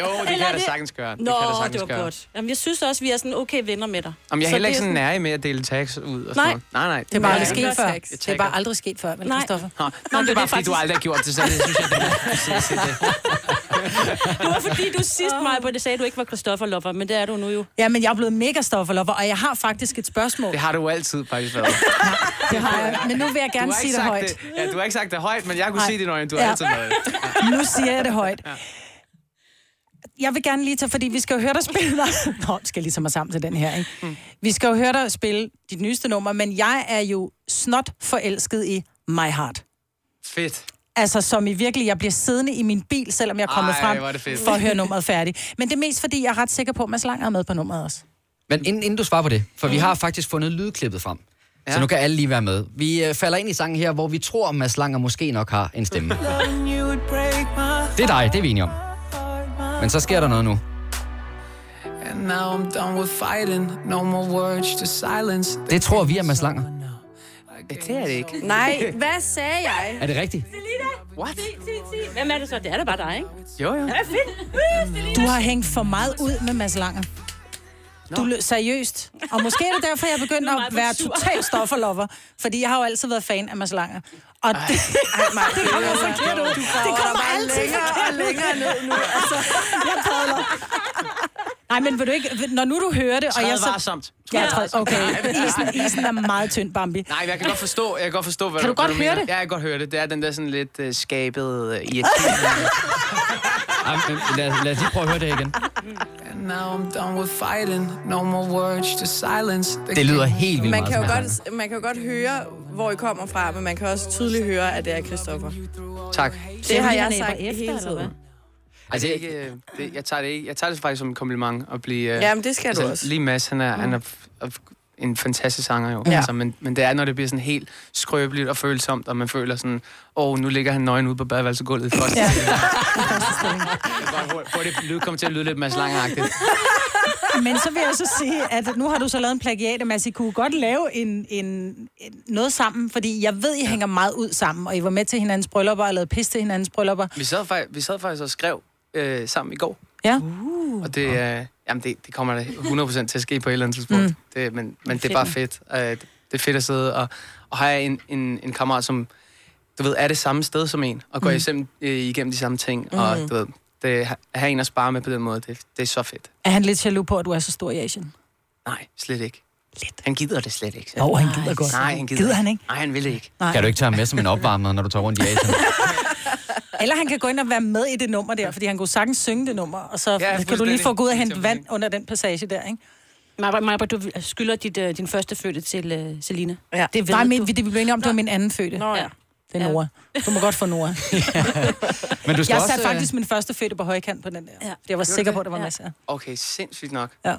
Jo, det kan
Eller
jeg da
det-
sagtens gøre.
Nå,
kan jeg da
det,
sagtens
var
gøre.
godt. Jamen, jeg synes også, vi er sådan okay venner med dig.
Jamen, jeg er
Så
heller ikke
det
sådan
sådan-
nærig med at dele tags ud og sådan
Nej.
noget. Nej, nej.
Det er bare aldrig
Nej.
sket før.
Jeg
Det er
tagger.
bare aldrig sket før, vel,
Nej.
Christoffer?
Nå, Nå, det er bare, fordi du aldrig har gjort det, så det synes jeg, det er præcis det.
Det var fordi, du sidst, mig på det sagde, du ikke var Christoffer Lopper, men det er du nu jo.
Ja, men jeg er blevet mega stofferlopper, og jeg har faktisk et spørgsmål.
Det har du jo altid faktisk været.
Det har jeg. Men nu vil jeg gerne
Du har
sige
ikke
det
sagt
højt.
Det. Ja, du har ikke sagt det højt, men jeg kunne
Nej.
se det, når du har
Ja.
altid været. det.
Nu siger jeg det højt. Jeg vil gerne lige tage, fordi vi skal jo høre dig spille dig. Nå, nu skal jeg lige tage mig sammen til den her, ikke?
Mm.
Vi skal jo høre dig spille dit nyeste nummer, men jeg er jo snot forelsket i My Heart.
Fedt.
Altså, som i virkelig, jeg bliver siddende i min bil, selvom jeg er kommet
Ej,
frem
hvor er det fedt.
for at høre nummeret færdigt. Men det er mest, fordi jeg er ret sikker på, at Mads Langer er med på nummeret også.
Men inden, inden du svarer på det, for vi har faktisk fundet lydklippet frem. Ja. Så nu kan alle lige være med. Vi øh, falder ind i sangen her, hvor vi tror, at Mads Langer måske nok har en stemme. Det er dig, det er vi enige om. Men så sker der noget nu.
And now I'm done with fighting. No more words to silence.
Det tror vi er Mads Langer.
Det er det ikke.
Nej, hvad sagde jeg?
Er det rigtigt?
What?
Hvem er det så? Det er da bare dig, ikke?
Jo, jo.
Ja, fedt. Uh, Selina.
Du har hængt for meget ud med Mads Langer. Du lød seriøst. Og måske er det derfor, jeg er begyndt
Nu er Maja
at være
sur.
total stofferlover. Fordi jeg har jo altid været fan af Mads Langer. Og det, det kommer forkert ud. Det kommer altid forkert ud. Jeg padler. Nej, men vil du ikke, når nu du hører det, og
Træd
jeg så...
varsomt.
Ja,
Træd
træd,
varsomt.
okay.
Nej.
Isen, isen er meget tynd, Bambi.
Nej, men jeg kan godt forstå, jeg kan godt forstå hvad
Kan du godt
hvad
høre
mener.
det?
Ja, jeg kan godt høre det. Det er den der sådan lidt uh, skabede uh, irriterende.
Ej, men, øh, lad, lad os lige prøve at høre det igen.
And now I'm done with fighting. No more words to silence.
Det lyder helt vildt
Man
meget
kan, jo
som
godt, man kan jo godt høre, hvor I kommer fra, men man kan også tydeligt høre, at det er Christoffer.
Tak.
Det har jeg
han æber
sagt
efter,
hele
eller
tiden.
Altså, det, er ikke, øh, det, jeg, tager det ikke, jeg tager det faktisk som en kompliment at blive... øh,
Jamen, det skal du
altså,
også. Mm.
Lige Mads, han er, han er f- f- en fantastisk sanger jo.
Ja.
Ja. Altså, men, men det er, når det bliver sådan helt skrøbeligt og følsomt, og man føler sådan, åh, oh, nu ligger han nøgen ude på badeværelsegulvet i første ja. Hvor det lyd kommer til at lyde lidt Mads Langeragtigt.
Men så vil jeg så sige, at nu har du så lavet en plagiat, Mads. I kunne godt lave en, en, en, noget sammen, fordi jeg ved, I hænger meget ud sammen, og I var med til hinandens bryllupper og lavede pis til hinandens bryllupper.
Vi sad, fak- vi sad faktisk og skrev øh, sammen i går,
Ja.
og det, øh, jamen det, det kommer da 100% til at ske på et eller andet tidspunkt.
Mm.
Mm. Det, men, men det er bare fedt. Øh, det er fedt at sidde og, og have en, en, en kammerat, som du ved, er det samme sted som en, og går
Mm.
mm. igennem, øh, igennem de samme ting, mm. og
Mm.
du ved, det, at have en at spare med på den måde, det, det er så fedt.
Er han lidt jaloux på, at du er så stor i Asien?
Nej, slet ikke. Lidt. Han gider det slet ikke.
Jo, han gider godt.
Nej, han gider,
Gider han ikke?
Nej, han vil ikke.
Nej.
Kan du ikke tage ham med som en opvarmer, når du tager rundt i Asien?
Eller han kan gå ind og være med i det nummer der, fordi han kunne sagtens synge det nummer, og så ja, kan du lige
fuldstændig.
få gå ud og hente vand under den passage der, ikke?
Maja, Maja, du skylder dit, øh, din første fødte til øh, Selina.
Ja. Det
ved
Nej, men
du.
vi, det, vi blev enige om, det var min anden fødte. Nå, ja. Det er Nora. Du må godt få Nora.
Men du skal også...
jeg
øh,
satte faktisk min første fødte på højkant på den der. øh, Ja. Jeg var sikker på, at det var ja. masser.
Okay, sindssygt nok.
Ja.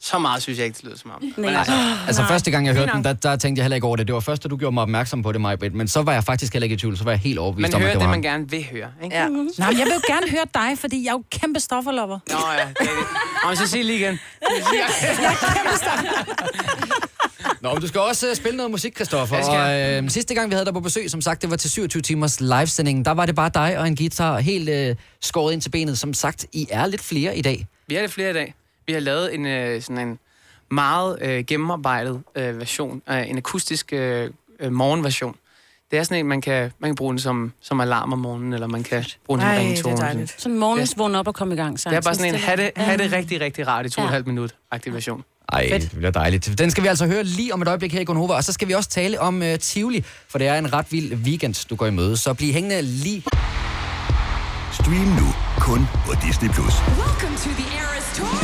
Så meget synes jeg ikke, det lyder som om. Men
Nej. Altså, altså første gang jeg hørte den, der, der tænkte jeg heller ikke over det. Det var først, da du gjorde mig opmærksom på det, Majbrit. Men så var jeg faktisk heller ikke i tvivl. Så var jeg helt overbevist
Man
om, at
hører
det
det,
var
man gerne vil høre. Ikke?
Ja.
Mhm. Nej, men jeg vil jo gerne høre dig, fordi jeg er jo kæmpe stofferlopper.
Nå ja, det er det. Og så sig lige igen.
Nå, men du skal også øh, spille noget musik, Christoffer.
Jeg skal.
Og øh, sidste gang, vi havde dig på besøg, som sagt, det var til 27 timers livesending. Der var det bare dig og en guitar helt øh, skåret ind til benet. Som sagt, I er lidt flere i dag.
Vi er det flere i dag. Vi har lavet en øh, sådan en meget øh, gennemarbejdet øh, version, øh, en akustisk øh, øh, morgenversion. Det er sådan en, man kan, man kan bruge den som, som alarm om morgenen, eller man kan bruge den som ringtone. og sådan.
Sådan morgens vågn op og komme i gang.
Det er bare sådan en, have det, have det rigtig, rigtig rart i to og et halvt minut aktivation.
Ej, det bliver dejligt. Den skal vi altså høre lige om et øjeblik her i Gonova. Og så skal vi også tale om øh, Tivoli, for det er en ret vild weekend, du går i møde. Så bliv hængende lige...
Stream nu kun på Disney+. Plus.
Welcome to the Eras Tour.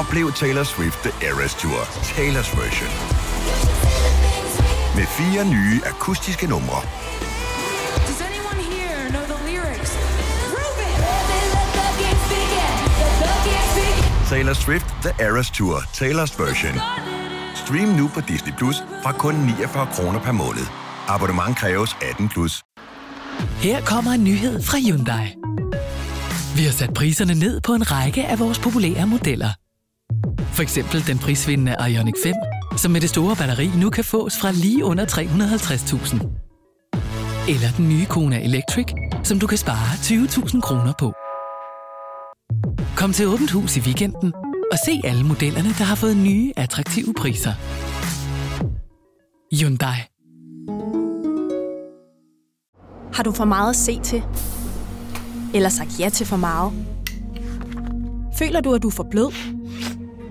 Oplev Taylor Swift The Eras Tour, Taylor's version. Med fire nye akustiske numre.
Does anyone here know the lyrics?
Taylor Swift The Eras Tour, Taylor's version. Stream nu på Disney Plus fra kun 49 kroner per måned. Abonnement kræves 18 plus.
Her kommer en nyhed fra Hyundai. Vi har sat priserne ned på en række af vores populære modeller. For eksempel den prisvindende Ioniq 5, som med det store batteri nu kan fås fra lige under 350.000.
Eller den nye Kona Electric, som du kan spare 20.000 kroner på. Kom til Åbent Hus i weekenden og se alle modellerne, der har fået nye, attraktive priser. Hyundai.
Har du for meget at se til? Eller sagt ja til for meget? Føler du, at du er for blød?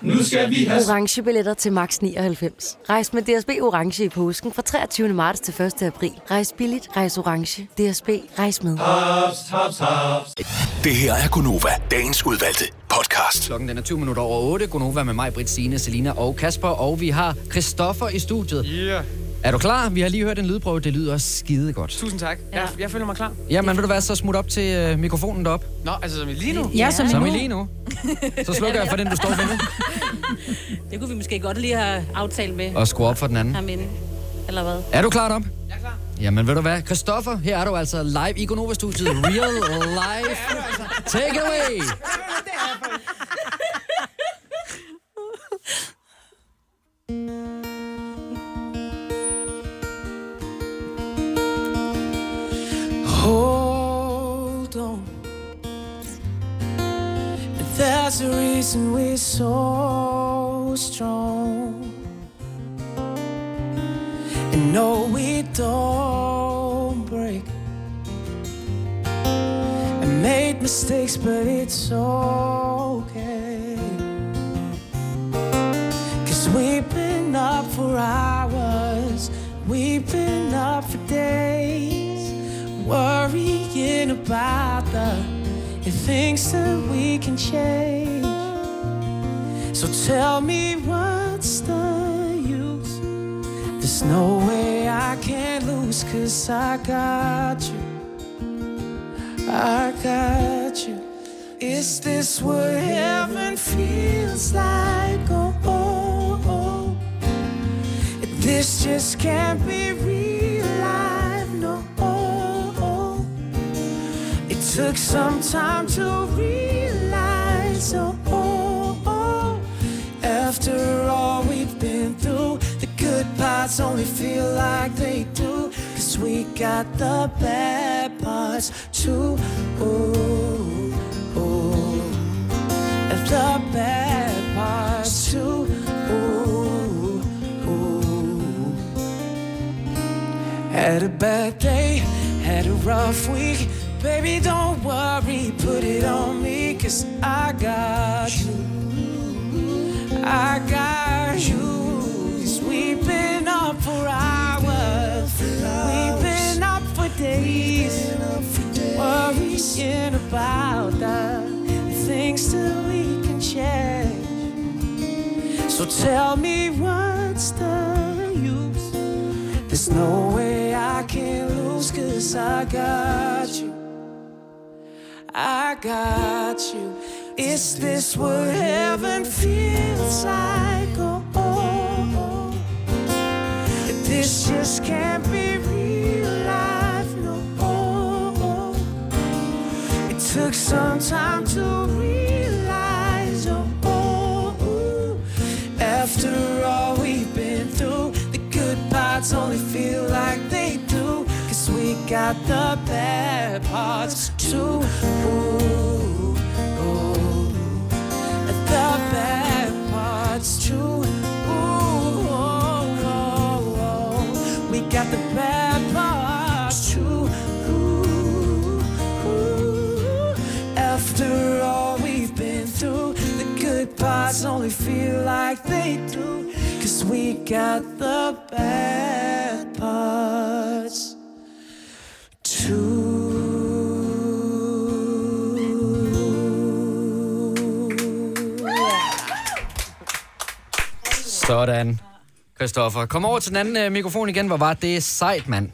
Nu skal vi have...
orange billetter til max 99. Rejs med DSB orange i påsken fra 23. marts til 1. april. Rejs billigt, rejs orange. DSB rejs med.
Haps, haps, haps.
Det her er Gunova, dagens udvalgte podcast.
Klokken den er 20 minutter over 8. Gunova med mig, Britt, Signe, Selina og Kasper. Og vi har Christoffer i studiet.
Yeah.
Er du klar? Vi har lige hørt en lydprøve. Det lyder skide godt.
Tusind tak. Ja. Jeg, jeg føler mig klar.
Jamen, vil du være så smut op til øh, mikrofonen derop?
Nå, altså som i lige nu?
Ja, som i Som i nu. lige nu. Så slukker jeg for den, du står ved nu.
Det kunne vi måske godt lige have aftalt med.
Og skrue op for den anden.
Herminde. Eller hvad?
Er du klar, Dom? Jeg er klar. Jamen, ved du hvad? Christoffer, her er du altså live i Gonova-studiet. Real life. Take it away.
Hold on. There's a reason we're so strong. And no, we don't break. I made mistakes, but it's okay. Cause we've been up for hours, we've been up for days worrying about the the things that we can change. So tell me what's the use? There's no way I can lose, cause I got you. I got you. Is this what heaven feels like? Oh, oh, oh. This just can't be real life, no. It took some time to realize, oh, oh, oh. After all we've been through, the good parts only feel like they do. Cause we got the bad parts too. Ooh, ooh. And the bad parts too. oh, Ooh, ooh. Had a bad day, had a rough week. Baby, don't worry, put it on me, cause I got you. I got you. Cause we've been up for hours, we've been up for days, worrying about the things that we can change. So tell me what's the use? There's no way I can lose, cause I got you. I got you. Is this what heaven feels like? Oh, oh, oh. This just can't be real life, no. Oh, oh. It took some time to realize, oh, oh, oh. After all we've been through, the good parts only feel like they do. Cause we got the bad parts too. Ooh, ooh. The bad parts too. Ooh, oh, oh, oh. We got the bad parts too. Ooh, ooh. After all we've been through, the good parts only feel like they do. Cause we got the bad parts too.
Sådan. Christoffer, kom over til den anden øh, mikrofon igen. Hvor var det sejt, mand.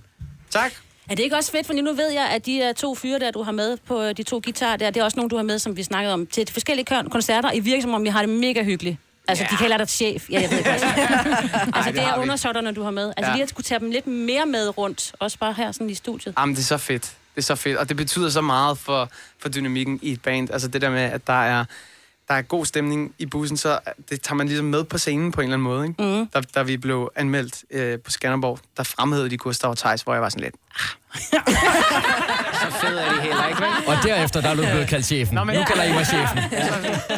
Tak.
Er det ikke også fedt, fordi nu ved jeg, at de øh, to fyre der, du har med på øh, de to guitarer der, det er også nogle, du har med, som vi snakkede om, til de forskellige kon- koncerter. I virker som om, I har det mega hyggeligt. Altså, de kalder dig chef. Ja, jeg ved godt. altså,
det
det
har
er
vi.
undersåtterne, du har med. Altså,
Ja.
ja. lige at skulle tage dem lidt mere med rundt, også bare her sådan i studiet.
Jamen, det er så fedt. Det er så fedt, og det betyder så meget for, for dynamikken i et band. Altså det der med, at der er, der er god stemning i bussen, så det tager man ligesom med på scenen på en eller anden måde. Ikke?
Mhm.
Da, da vi blev anmeldt øh, på Skanderborg, der fremhævede de Gustav og Theis, hvor jeg var sådan lidt... "Ah."
Så fed er de heller ikke, Og derefter, der er du blevet kaldt chefen. Nå, men... Nu kalder I mig chefen.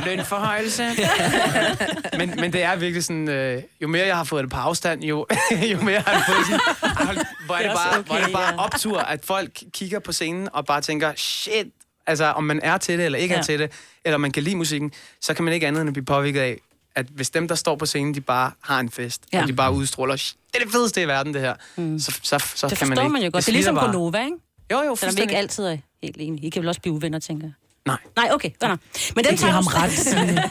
Lønforhøjelse. men, men det er virkelig sådan, øh, jo mere jeg har fået det på afstand, jo, jo mere har jeg fået sådan, "Ah, hold- hvor er det
Det er
bare,
også
hvor er det
okay,
bare
ja.
optur, at folk kigger på scenen og bare tænker, shit, altså om man er til det eller ikke ja.
Ja.
er til det, eller man kan lide musikken, så kan man ikke andet end at blive påvirket af, at hvis dem, der står på scenen, de bare har en fest, ja.
Ja.
og de bare udstråler, "Shit, det er det fedeste i verden, det her, mm. så, så, så
det
kan man
forstår
ikke.
man jo godt. Det, er ligesom på
slider bare.
Nova, ikke?
Jo, jo,
Selvom vi
fuldstændig.
ikke altid er helt enige. I kan vel også blive uvenner, tænker jeg.
Nej.
Nej, okay. Godt nok. Men den
giver ham
også-
ret, Signe.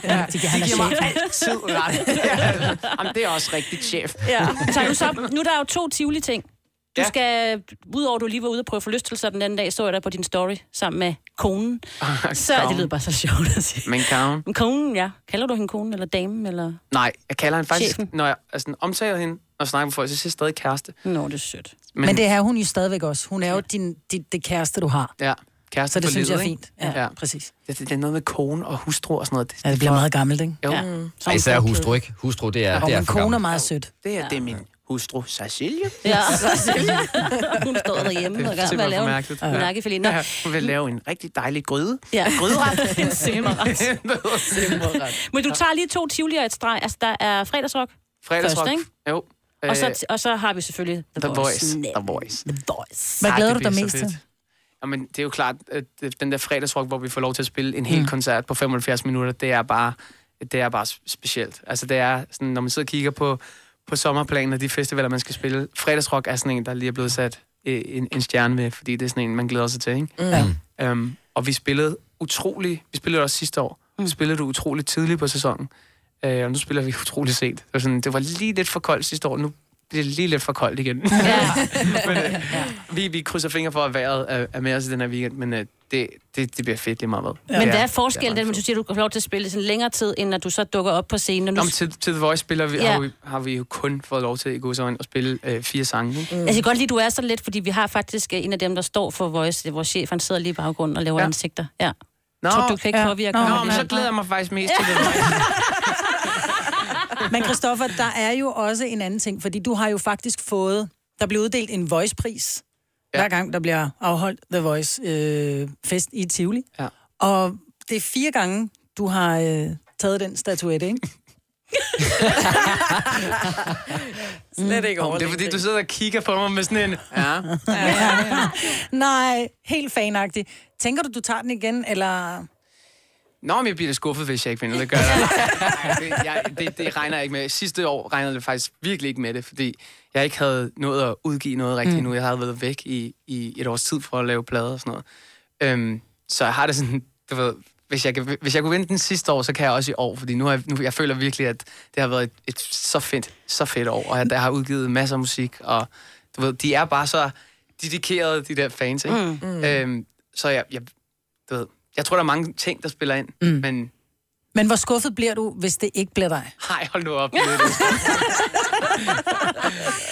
ja.
Det giver han Det giver mig chef. altid ret. Ja. Jamen, det er også rigtigt, chef.
ja. Så nu, så, nu er der jo to tivoli ting. Du
Ja.
ja. skal, udover du lige var ude og prøve forlystelser den anden dag, så jeg dig på din story sammen med konen.
Ah,
Så det lyder bare så sjovt at sige.
Men Karen,
Men Konen, ja. Kalder du hende konen eller damen? Eller?
nej, jeg kalder hende faktisk,
Chefen.
når jeg altså, omtaler hende og snakker med folk, så siger jeg stadig kæreste.
Nå, det er sødt.
Men, men det er hun jo stadigvæk også. Hun er jo din, dit, det kæreste, du har.
Ja, kæreste
Så det
for
synes
livet,
jeg er
ikke?
fint.
Ja, ja.
præcis.
Det, det, er noget med kone og hustru og sådan noget.
Ja, det bliver
for-
meget gammelt, ikke?
Jo.
Ja.
Ja.
Og især hustru, ikke? Hustru, det er,
Og
det er
min
for
kone er
gammelt.
meget sødt.
Det er, det er min hustru, Cecilie.
Ja, hun står derhjemme
Det er
og gør, hvad
simpelthen for
laver hun?
mærkeligt.
Hun
Ja.
er ikke Nå,
Ja, hun vil lave en rigtig dejlig gryde.
Ja.
Gryderet.
En simmerret.
Simmerret.
Men du tager lige to tivoli og et streg. Altså, der er fredagsrock.
Fredagsrock.
Først, ikke?
Jo.
Og
Øh,
så, og så har vi selvfølgelig The,
The Voice.
Voice.
The Voice.
The Voice.
Hvad
Ej,
glæder
det
du dig
bliver
mest
så
til?
fedt. Jamen, det er jo klart, at det- den der fredagsrock, hvor vi får lov til at spille en hel mm. koncert på 75 minutter, det er bare, det er bare specielt. Altså, det er sådan, når man sidder og kigger på, på sommerplanen og de festivaler, man skal spille, fredagsrock er sådan en, der lige er blevet sat øh, en, en stjerne ved, fordi det er sådan en, man glæder sig til, ikke?
Mm.
Um, og vi spillede utrolig, vi spillede også sidste år, mm. spillede du utrolig tidligt på sæsonen, uh, og nu spiller vi utrolig sent. Det var, sådan, det var lige lidt for koldt sidste år, nu bliver det lige lidt for koldt igen. men, øh, vi, vi krydser fingre for, at vejret er, er med os i den her weekend, men øh, det, det, det bliver fedt lige meget hvad.
Ja. Men
Det
hvad
er-
er forskellen, den, hvor du siger, at du får lov til at spille sådan længere tid, end at du så dukker op på scenen? Og nu...
Om til, til The Voice spiller vi, ja.
Ja.
har, vi, har vi jo kun fået lov til i godsøjne at spille øh, fire sange. ikke?
Jeg kan godt lide, at du er sådan lidt, fordi vi har faktisk øh, en af dem, der står for Voice. Det er vores chef, han sidder lige i baggrunden og laver ja. ansigter. Ja.
Nå,
Mm. Tror du, du kan ikke
ja.
påvirke
Nå,
ham?
men så glæder jeg mig faktisk mest til det.
Men Christoffer, der er jo også en anden ting, fordi du har jo faktisk fået, der bliver uddelt en voicepris, ja. hver gang der bliver afholdt The Voice-fest i Tivoli.
Ja.
Og det er fire gange, du har øh, taget den statuette, ikke?
Slet ikke over. Det er fordi, du sidder og kigger på mig med sådan en... Ja.
Nej, helt fanagtig. Tænker du, du tager den igen, eller...
Nå, men jeg bliver lidt skuffet, hvis jeg ikke vinder. Det gør jeg. Nej, det, jeg det, det regner jeg ikke med. Sidste år regnede jeg faktisk virkelig ikke med det, fordi jeg ikke havde nået at udgive noget rigtigt mm.
Mm.
nu. Jeg havde været væk i, i et års tid for at lave plader og sådan noget. Øhm, så jeg har det sådan, du ved, hvis jeg, kan, hvis jeg kunne vinde den sidste år, så kan jeg også i år, fordi nu, har jeg, nu jeg føler virkelig, at det har været et, et så, fedt, så fedt år, og at jeg har udgivet masser af musik, og du ved, de er bare så dedikerede, de der fans, ikke?
Mm.
Mm.
Mm.
Øhm, så jeg, jeg, du ved, jeg tror, der er mange ting, der spiller ind, mm. men
Men hvor skuffet bliver du, hvis det ikke bliver dig?
Nej, hold nu op. Det er det.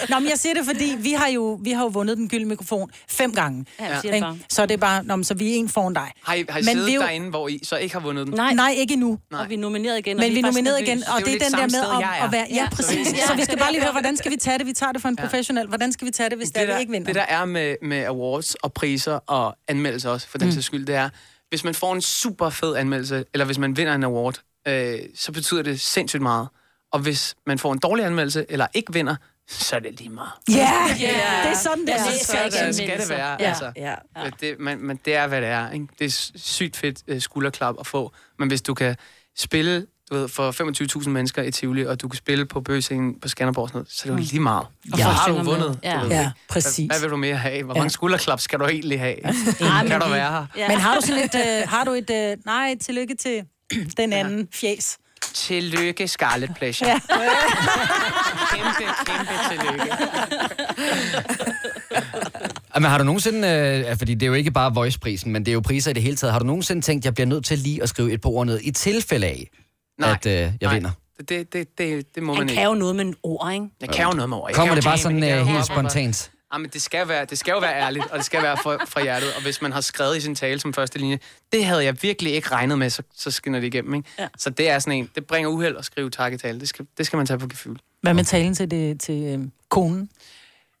Nå, men jeg siger det, fordi vi har jo, vi har jo vundet den gyldne mikrofon fem gange.
Ja, vi siger det
Ikke?
bare.
Så det er bare, nå, men så vi er en foran dig.
Har I, har I
Men
siddet
vi er jo-
derinde, hvor I så ikke har vundet den?
Nej, nej ikke endnu.
Nej. Og
vi er nomineret igen.
Men vi er nomineret igen, og
jo
det er,
lidt
den der
samme
med
sted,
om
jeg er.
at være... Ja, præcis.
Ja.
Så vi skal bare lige høre, hvordan skal vi tage det? Vi tager det for en
Ja.
professionel. Hvordan skal vi tage det, hvis det, er,
der,
vi ikke vinder?
det der er med, med awards og priser og anmeldelser også, for den
Mm.
sags skyld, det er, hvis man får en super fed anmeldelse, eller hvis man vinder en award, øh, så betyder det sindssygt meget. Og hvis man får en dårlig anmeldelse, eller ikke vinder, så er det lige meget.
Ja, det er sådan, det er.
Så skal, det, skal det være.
Ja.
Altså.
Ja.
Øh, Det, man, man, det er, hvad det er. Ikke? Det er sy- sygt fedt øh, skulderklap at få. Men hvis du kan spille du ved, for 25.000 mennesker i Tivoli, og du kan spille på bøgescenen på Skanderborg, og sådan noget, så er det jo lige meget.
Ja.
Og ja. har du
Synger med.
vundet.
Ja.
du
Ja,
ikke?
præcis.
Hvad, hvad vil du mere have? Hvor
Ja.
mange skulderklap skal du egentlig have?
Ej,
kan
men
du
vi-
være her?
Ja. Men har du sådan et... Øh, har du et øh, nej, tillykke til den anden ja. fjes.
Tillykke, Scarlet Pleasure. Ja. kæmpe, kæmpe tillykke.
Men har du nogensinde, øh, ja, fordi det er jo ikke bare voiceprisen, men det er jo priser i det hele taget, har du nogensinde tænkt, jeg bliver nødt til lige at skrive et par ord ned i tilfælde af,
Nej.
at øh, jeg
Nej.
vinder?
Det, det, det, det, det må
Han
man
kan jo noget med en ord, ikke?
Jeg kan jo noget med ord. Jeg
Kommer
kan jo
det bare
jamme,
sådan,
jeg kan
øh,
jo
helt
råbe op og-
spontant?
Jamen, det skal, være, det skal jo være ærligt, og det skal være fra, fra hjertet. Og hvis man har skrevet i sin tale som første linje, det havde jeg virkelig ikke regnet med, så, så skinner det igennem. Ikke? Ja. Så det er sådan en, det bringer uheld at skrive tak i tale. Det skal, det skal man tage på gefyl.
Hvad med talen til, det, til øh, konen?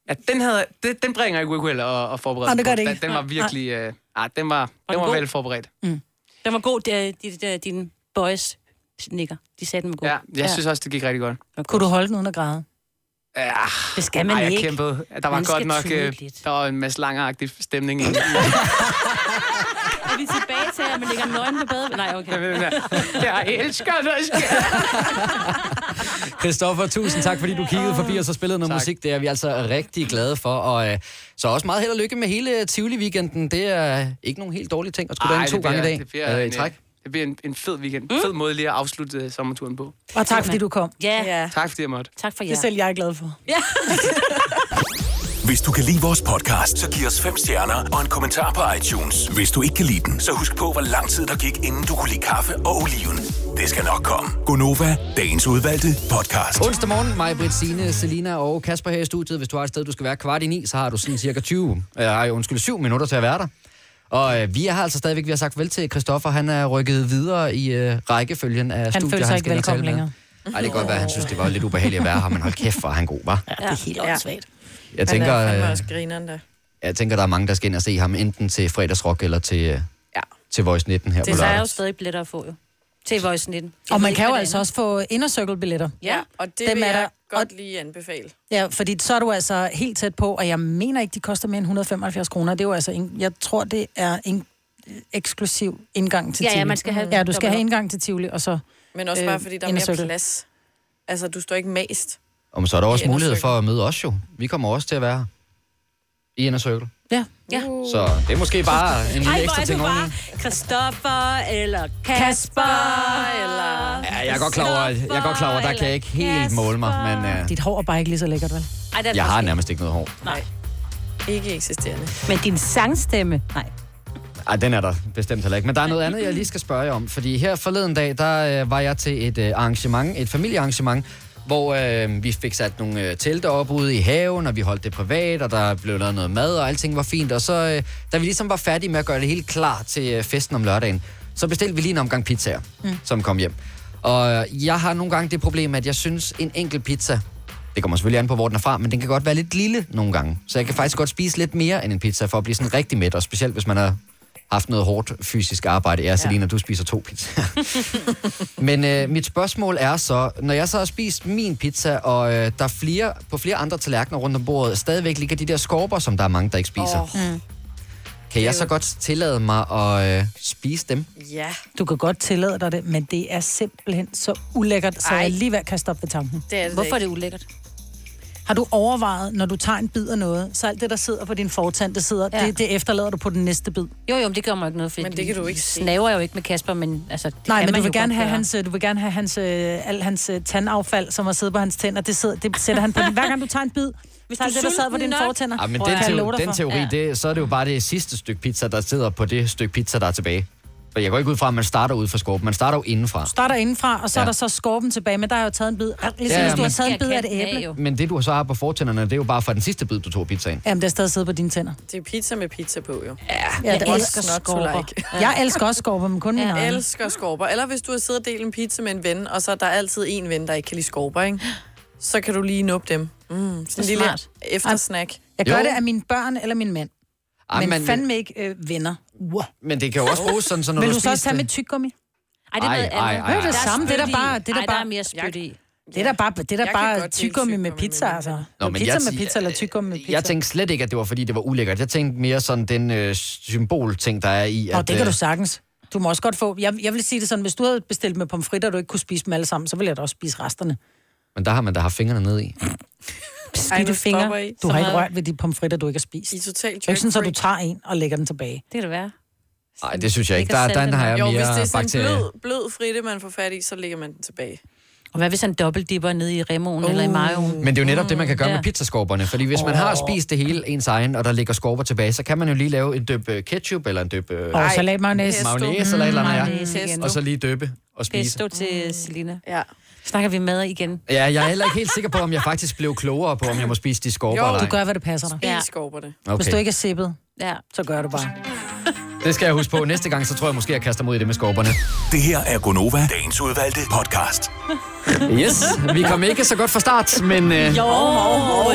Ja, den, havde, det, den bringer ikke uheld at, at
Nej,
forberede.
det gør
sig på.
det
Den-
ikke.
Den var
Nej.
virkelig... Øh, ah, den var, den
den
var
god?
vel forberedt.
Den var god, de, de, de, dine boys nikker. De sagde, den var god.
Ja, jeg synes også, det gik rigtig godt.
Kunne du holde den uden at græde?
Ja,
det skal man
ej, jeg
ikke.
Kæmpede. Der var
Man
godt
skal tåle
nok... Øh, der var en masse langeragtig stemning. i-
Er vi tilbage til, at man ligger nøgen på badet? Nej, okay.
Jeg elsker dig.
Christoffer, tusind tak, fordi du kiggede forbi os og spillede noget tak. musik. Det er vi altså rigtig glade for. Og øh, så også meget held og lykke med hele Tivoli-weekenden. Det er ikke nogen helt dårlige ting at skulle
Ej,
derinde to
det bliver-
gange i dag.
Det bliver,
øh, i
en,
træk.
det bliver en, en fed weekend. Mm. Fed måde lige at afslutte øh, sommerturen på.
Og tak, fordi du kom.
Ja. ja.
Tak fordi jeg måtte.
Tak for
Det er selv jeg er glad for.
Hvis du kan lide vores podcast, så giv os fem stjerner og en kommentar på iTunes. Hvis du ikke kan lide den, så husk på, hvor lang tid der gik, inden du kunne lide kaffe og oliven. Det skal nok komme.
Gonova, dagens udvalgte podcast.
Onsdag morgen, mig, Britt, Signe, Selina og Kasper her i studiet. Hvis du har et sted, du skal være kvart i ni, så har du sådan cirka 20, øh, ej, undskyld, 7 minutter til at være der. Og øh, vi har altså stadigvæk, vi har sagt vel til Christoffer, han er rykket videre i øh, rækkefølgen af
Han
studier,
føler sig ikke
skal ind og tale
velkommen
med.
længere.
Ej, det kan godt være, han synes, det var lidt ubehageligt at være her, men hold kæft, var han god, var.
Ja, det er helt åndssvagt.
Jeg tænker,
Han er fandme
øh,
også grineren der.
Jeg tænker, der er mange, der skal ind og se ham, enten til fredagsrock eller til, ja. til Voice 19 her
Det
på
så er jo
lørdag.
stadig billetter at få, jo. Til Voice 19. Jeg
Og
ved
man
ikke,
kan jo
hvad det
altså også få inner circle billetter.
Ja, og det
Dem
vil
er
jeg
der-
godt lige anbefale.
Ja, fordi så er du altså helt tæt på, og jeg mener ikke, de koster mere end 175 kroner. Det er jo altså, en, jeg tror, det er en øh, eksklusiv indgang til
Ja, ja,
Tivoli.
man skal have-
Ja, du skal
dobbelt
have
op.
indgang til Tivoli, og så...
Men også bare, fordi der er
inner
mere
circle.
plads. Altså, du står ikke mast.
Og så er der også
I Inner
mulighed
Circle.
for at møde os jo. Vi kommer også til at være her. I Inner Circle.
Ja.
Ja.
Uh.
Så det er måske bare en lille
Ej, hvor
ekstra
er
ting
du
oveni.
bare Christoffer eller Kasper, eller...
Ja, jeg er godt klar over, at- jeg er godt klar over, der kan jeg ikke helt måle mig, men uh,
Dit hår er bare ikke lige så lækkert, vel?
Ej, der
jeg har nærmest ikke noget hår.
Nej.
Ikke eksisterende.
Men din sangstemme, nej.
Ej, den er der bestemt heller ikke. Men der er noget andet, jeg lige skal spørge jer om. Fordi her forleden dag, der øh, var jeg til et øh, arrangement, et familiearrangement, hvor øh, vi fik sat nogle øh, telte op ude i haven, og vi holdt det privat, og der blev lavet noget mad, og alting var fint. Og så, øh, da vi ligesom var færdige med at gøre det hele klar til øh, festen om lørdagen, så bestilte vi lige en omgang pizzaer, mm. som kom hjem. Og øh, jeg har nogle gange det problem, at jeg synes, en enkelt pizza, det kommer selvfølgelig an på, hvor den er fra, men den kan godt være lidt lille nogle gange. Så jeg kan faktisk godt spise lidt mere end en pizza, for at blive sådan rigtig mæt, og specielt hvis man har haft noget hårdt fysisk arbejde. Ja, Selina, du spiser to pizzaer. Men øh, mit spørgsmål er så, når jeg så har spist min pizza, og øh, der er flere, på flere andre tallerkener rundt om bordet, stadigvæk ligger de der skorper, som der er mange, der ikke spiser. Oh.
Mm.
Kan jeg så godt tillade mig at øh, spise dem?
Ja,
Du kan godt tillade dig det, men det er simpelthen så ulækkert, så
Ej.
jeg er lige ved at kaste op ved tanken.
det er det
Hvorfor er det
ikke.
ulækkert?
Har du overvejet, når du tager en bid af noget, så alt det, der sidder på din fortand, det, sidder,
Ja.
ja. det, det efterlader du på den næste bid?
Jo, jo, men det gør mig ikke noget, for
Men det kan du ikke se.
snaver jeg jo ikke med Kasper, men altså, det
Nej,
kan
men
man
du vil,
jo
gerne
godt
have
gøre.
hans, øh, du vil gerne have hans, øh, al hans øh, tandaffald, som har siddet på hans tænder. Det, sidder, det sætter han på din. Hver gang du tager en bid, Hvis
du
du
er
det, der sad på
sulten
dine
nok-
fortænder.
Ja, men
Prøv
den,
at høre, jeg lover
teori,
dig
den
for.
teori, ja. det, så er det jo bare det sidste stykke pizza, der sidder på det stykke pizza, der er tilbage. For jeg går ikke ud fra, at man starter ud fra skorpen. Man starter jo indenfra.
starter indenfra, og så ja.
Ja.
er der så skorpen tilbage, men der har jeg jo taget en bid. Ligesom
Ja,
ja, hvis du
men-
har taget en bid af et æble.
Men det, du så har på fortænderne, det er jo bare fra den sidste bid, du tog af pizzaen.
Jamen, der er stadig siddet på dine tænder.
Det er pizza med pizza på, jo.
Ja,
Jeg
jeg elsker
elsker
skorper.
like.
Like. Jeg elsker også skorper, men kun min
Jeg
egen.
elsker skorper. Eller hvis du har siddet og delt en pizza med en ven, og så er der altid en ven, der ikke kan lide skorper, ikke? Så kan du lige nuppe dem. Mm, sådan en lille
smart.
eftersnack.
Jeg gør det af mine børn eller min mand.
Ej,
men
men-
fandme ikke øh, venner. Wow.
Men det kan jo også bruges sådan, så når
Vil
du
du så også
spiser
tage
det-
mit tyggegummi?
Ej, det er
Ej,
noget
ej,
andet.
ej, ej.
Det er det samme. Det er der
spyt i.
bare, det er
Ej,
der
der er
bare,
mere spyt i.
det er der bare, det er der
Jeg kan
bare
godt dele
tyggegummi med pizza, altså.
Nå, men
pizza
jeg
med
siger-
pizza eller tyggegummi med pizza.
Jeg tænkte slet ikke, at det var, fordi det var ulækkert. Jeg tænkte mere sådan den øh, symbolting, der er i.
Nå,
at,
det kan du
øh,
sagtens. Du må også godt få... Jeg, jeg vil sige det sådan, hvis du havde bestilt med pomfritter, og du ikke kunne spise dem alle sammen, så ville jeg da også spise resterne.
Men der har man da haft fingrene ned i.
Skidte
nu stopper
fingre.
I.
Du
Så
har ikke
meget.
rørt ved de pomfritter, du ikke har spist.
I er totalt
Det er ikke sådan, så du
jerk-free.
tager en og lægger den tilbage.
Det kan det være.
Nej, det synes jeg ikke.
Ligger
Der, der,
saltet
der har jeg
ned.
mere
Jo, hvis det er sådan en
bakterier.
blød, blød fritte, man får fat i, så lægger man den tilbage.
Og hvad hvis han dobbeltdipper ned i remoen uh, eller i majoen?
Men det er jo netop det, man kan
Mm,
gøre med pizzaskorperne, fordi hvis man har spist det hele ens egen, og der ligger skorper tilbage, så kan man jo lige lave en døb øh, ketchup, eller en døb øh,
Og salat mayonnaise.
mayonnaise, eller et eller
Mm,
andet,
mayonnaise igen.
ja. og så lige døbe og spise.
Pesto til Selina. Ja. Snakker vi mad igen?
Ja, jeg er heller ikke helt sikker på, om jeg faktisk blev klogere på, om jeg må spise de skorper eller
Jo, du
ej.
gør, hvad det passer dig.
Ja.
skorperne.
Hvis
Okay.
du ikke er sippet,
ja.
så gør du bare.
Det skal jeg huske på. Næste gang, så tror jeg måske, jeg kaster mig ud i det med skorperne.
Det her er Gonova, dagens udvalgte podcast.
Yes, vi kom ikke så godt fra start, men øh,
Jo,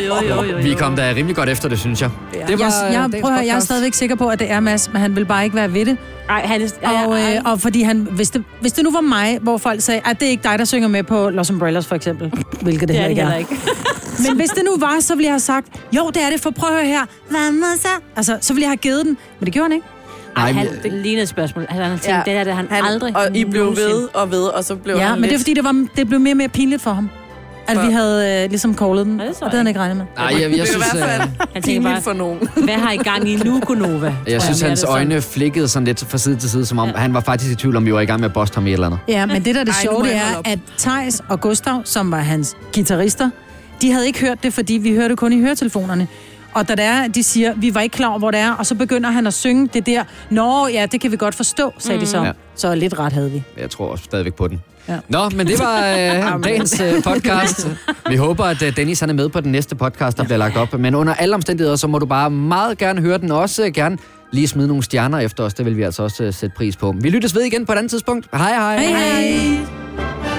jo, jo, jo, jo.
vi kom da rimelig godt efter det, synes jeg. Det var,
jeg, jeg, prøv at høre, jeg er stadigvæk sikker på, at det er Mads, men han vil bare ikke være ved det.
Ej, han
er, og, øh, og fordi han, hvis det, hvis det nu var mig, hvor folk sagde, at det er ikke dig, der synger med på Los Umbrellas for eksempel, hvilket det,
Det er det
heller
heller
ikke er. Men hvis det nu var, så ville jeg have sagt, jo, det er det, for prøv at høre her. Hvad med så? Altså, så ville jeg have givet den, men det gjorde han ikke.
Ej, han, det lignede et spørgsmål. Han, han tænkte, ja. det der, det han, han aldrig
Og I blev ved
nogensinde-
og ved, og så blev
ja,
han
men det er
lidt...
fordi, det, var, det blev mere og mere pinligt for ham. At vi havde øh, ligesom callet den, og det havde han ikke regnet med.
Nej, jeg, jeg, jeg synes, øh,
Han tænker bare, for nogen. hvad har I gang i nu, Gunova? Tror
jeg synes
mere,
hans
det er sådan.
øjne flikkede sådan lidt fra side til side, som om han var faktisk i tvivl, om vi var i gang med at boste ham i et eller andet.
Ja, men det der er det
Ej, nu
sjove,
må
det
jeg
er, at Tejs og Gustav, som var hans guitarister, de havde ikke hørt det, fordi vi hørte det kun i høretelefonerne. Og da det er, de siger, vi var ikke klar over, hvor det er, og så begynder han at synge det der, Nå, ja, det kan vi godt forstå, sagde mm. de så.
Ja.
Ja. Så lidt ret havde vi.
Jeg tror også stadigvæk på den.
Ja.
Nå, men det var øh, dagens øh, podcast. Vi håber, at øh, Dennis han er med på den næste podcast, der bliver lagt op. Men under alle omstændigheder, så må du bare meget gerne høre den. Også øh, gerne lige smide nogle stjerner efter os. Det vil vi altså også øh, sætte pris på. Vi lyttes ved igen på et andet tidspunkt. Hej hej.
Hej, hej.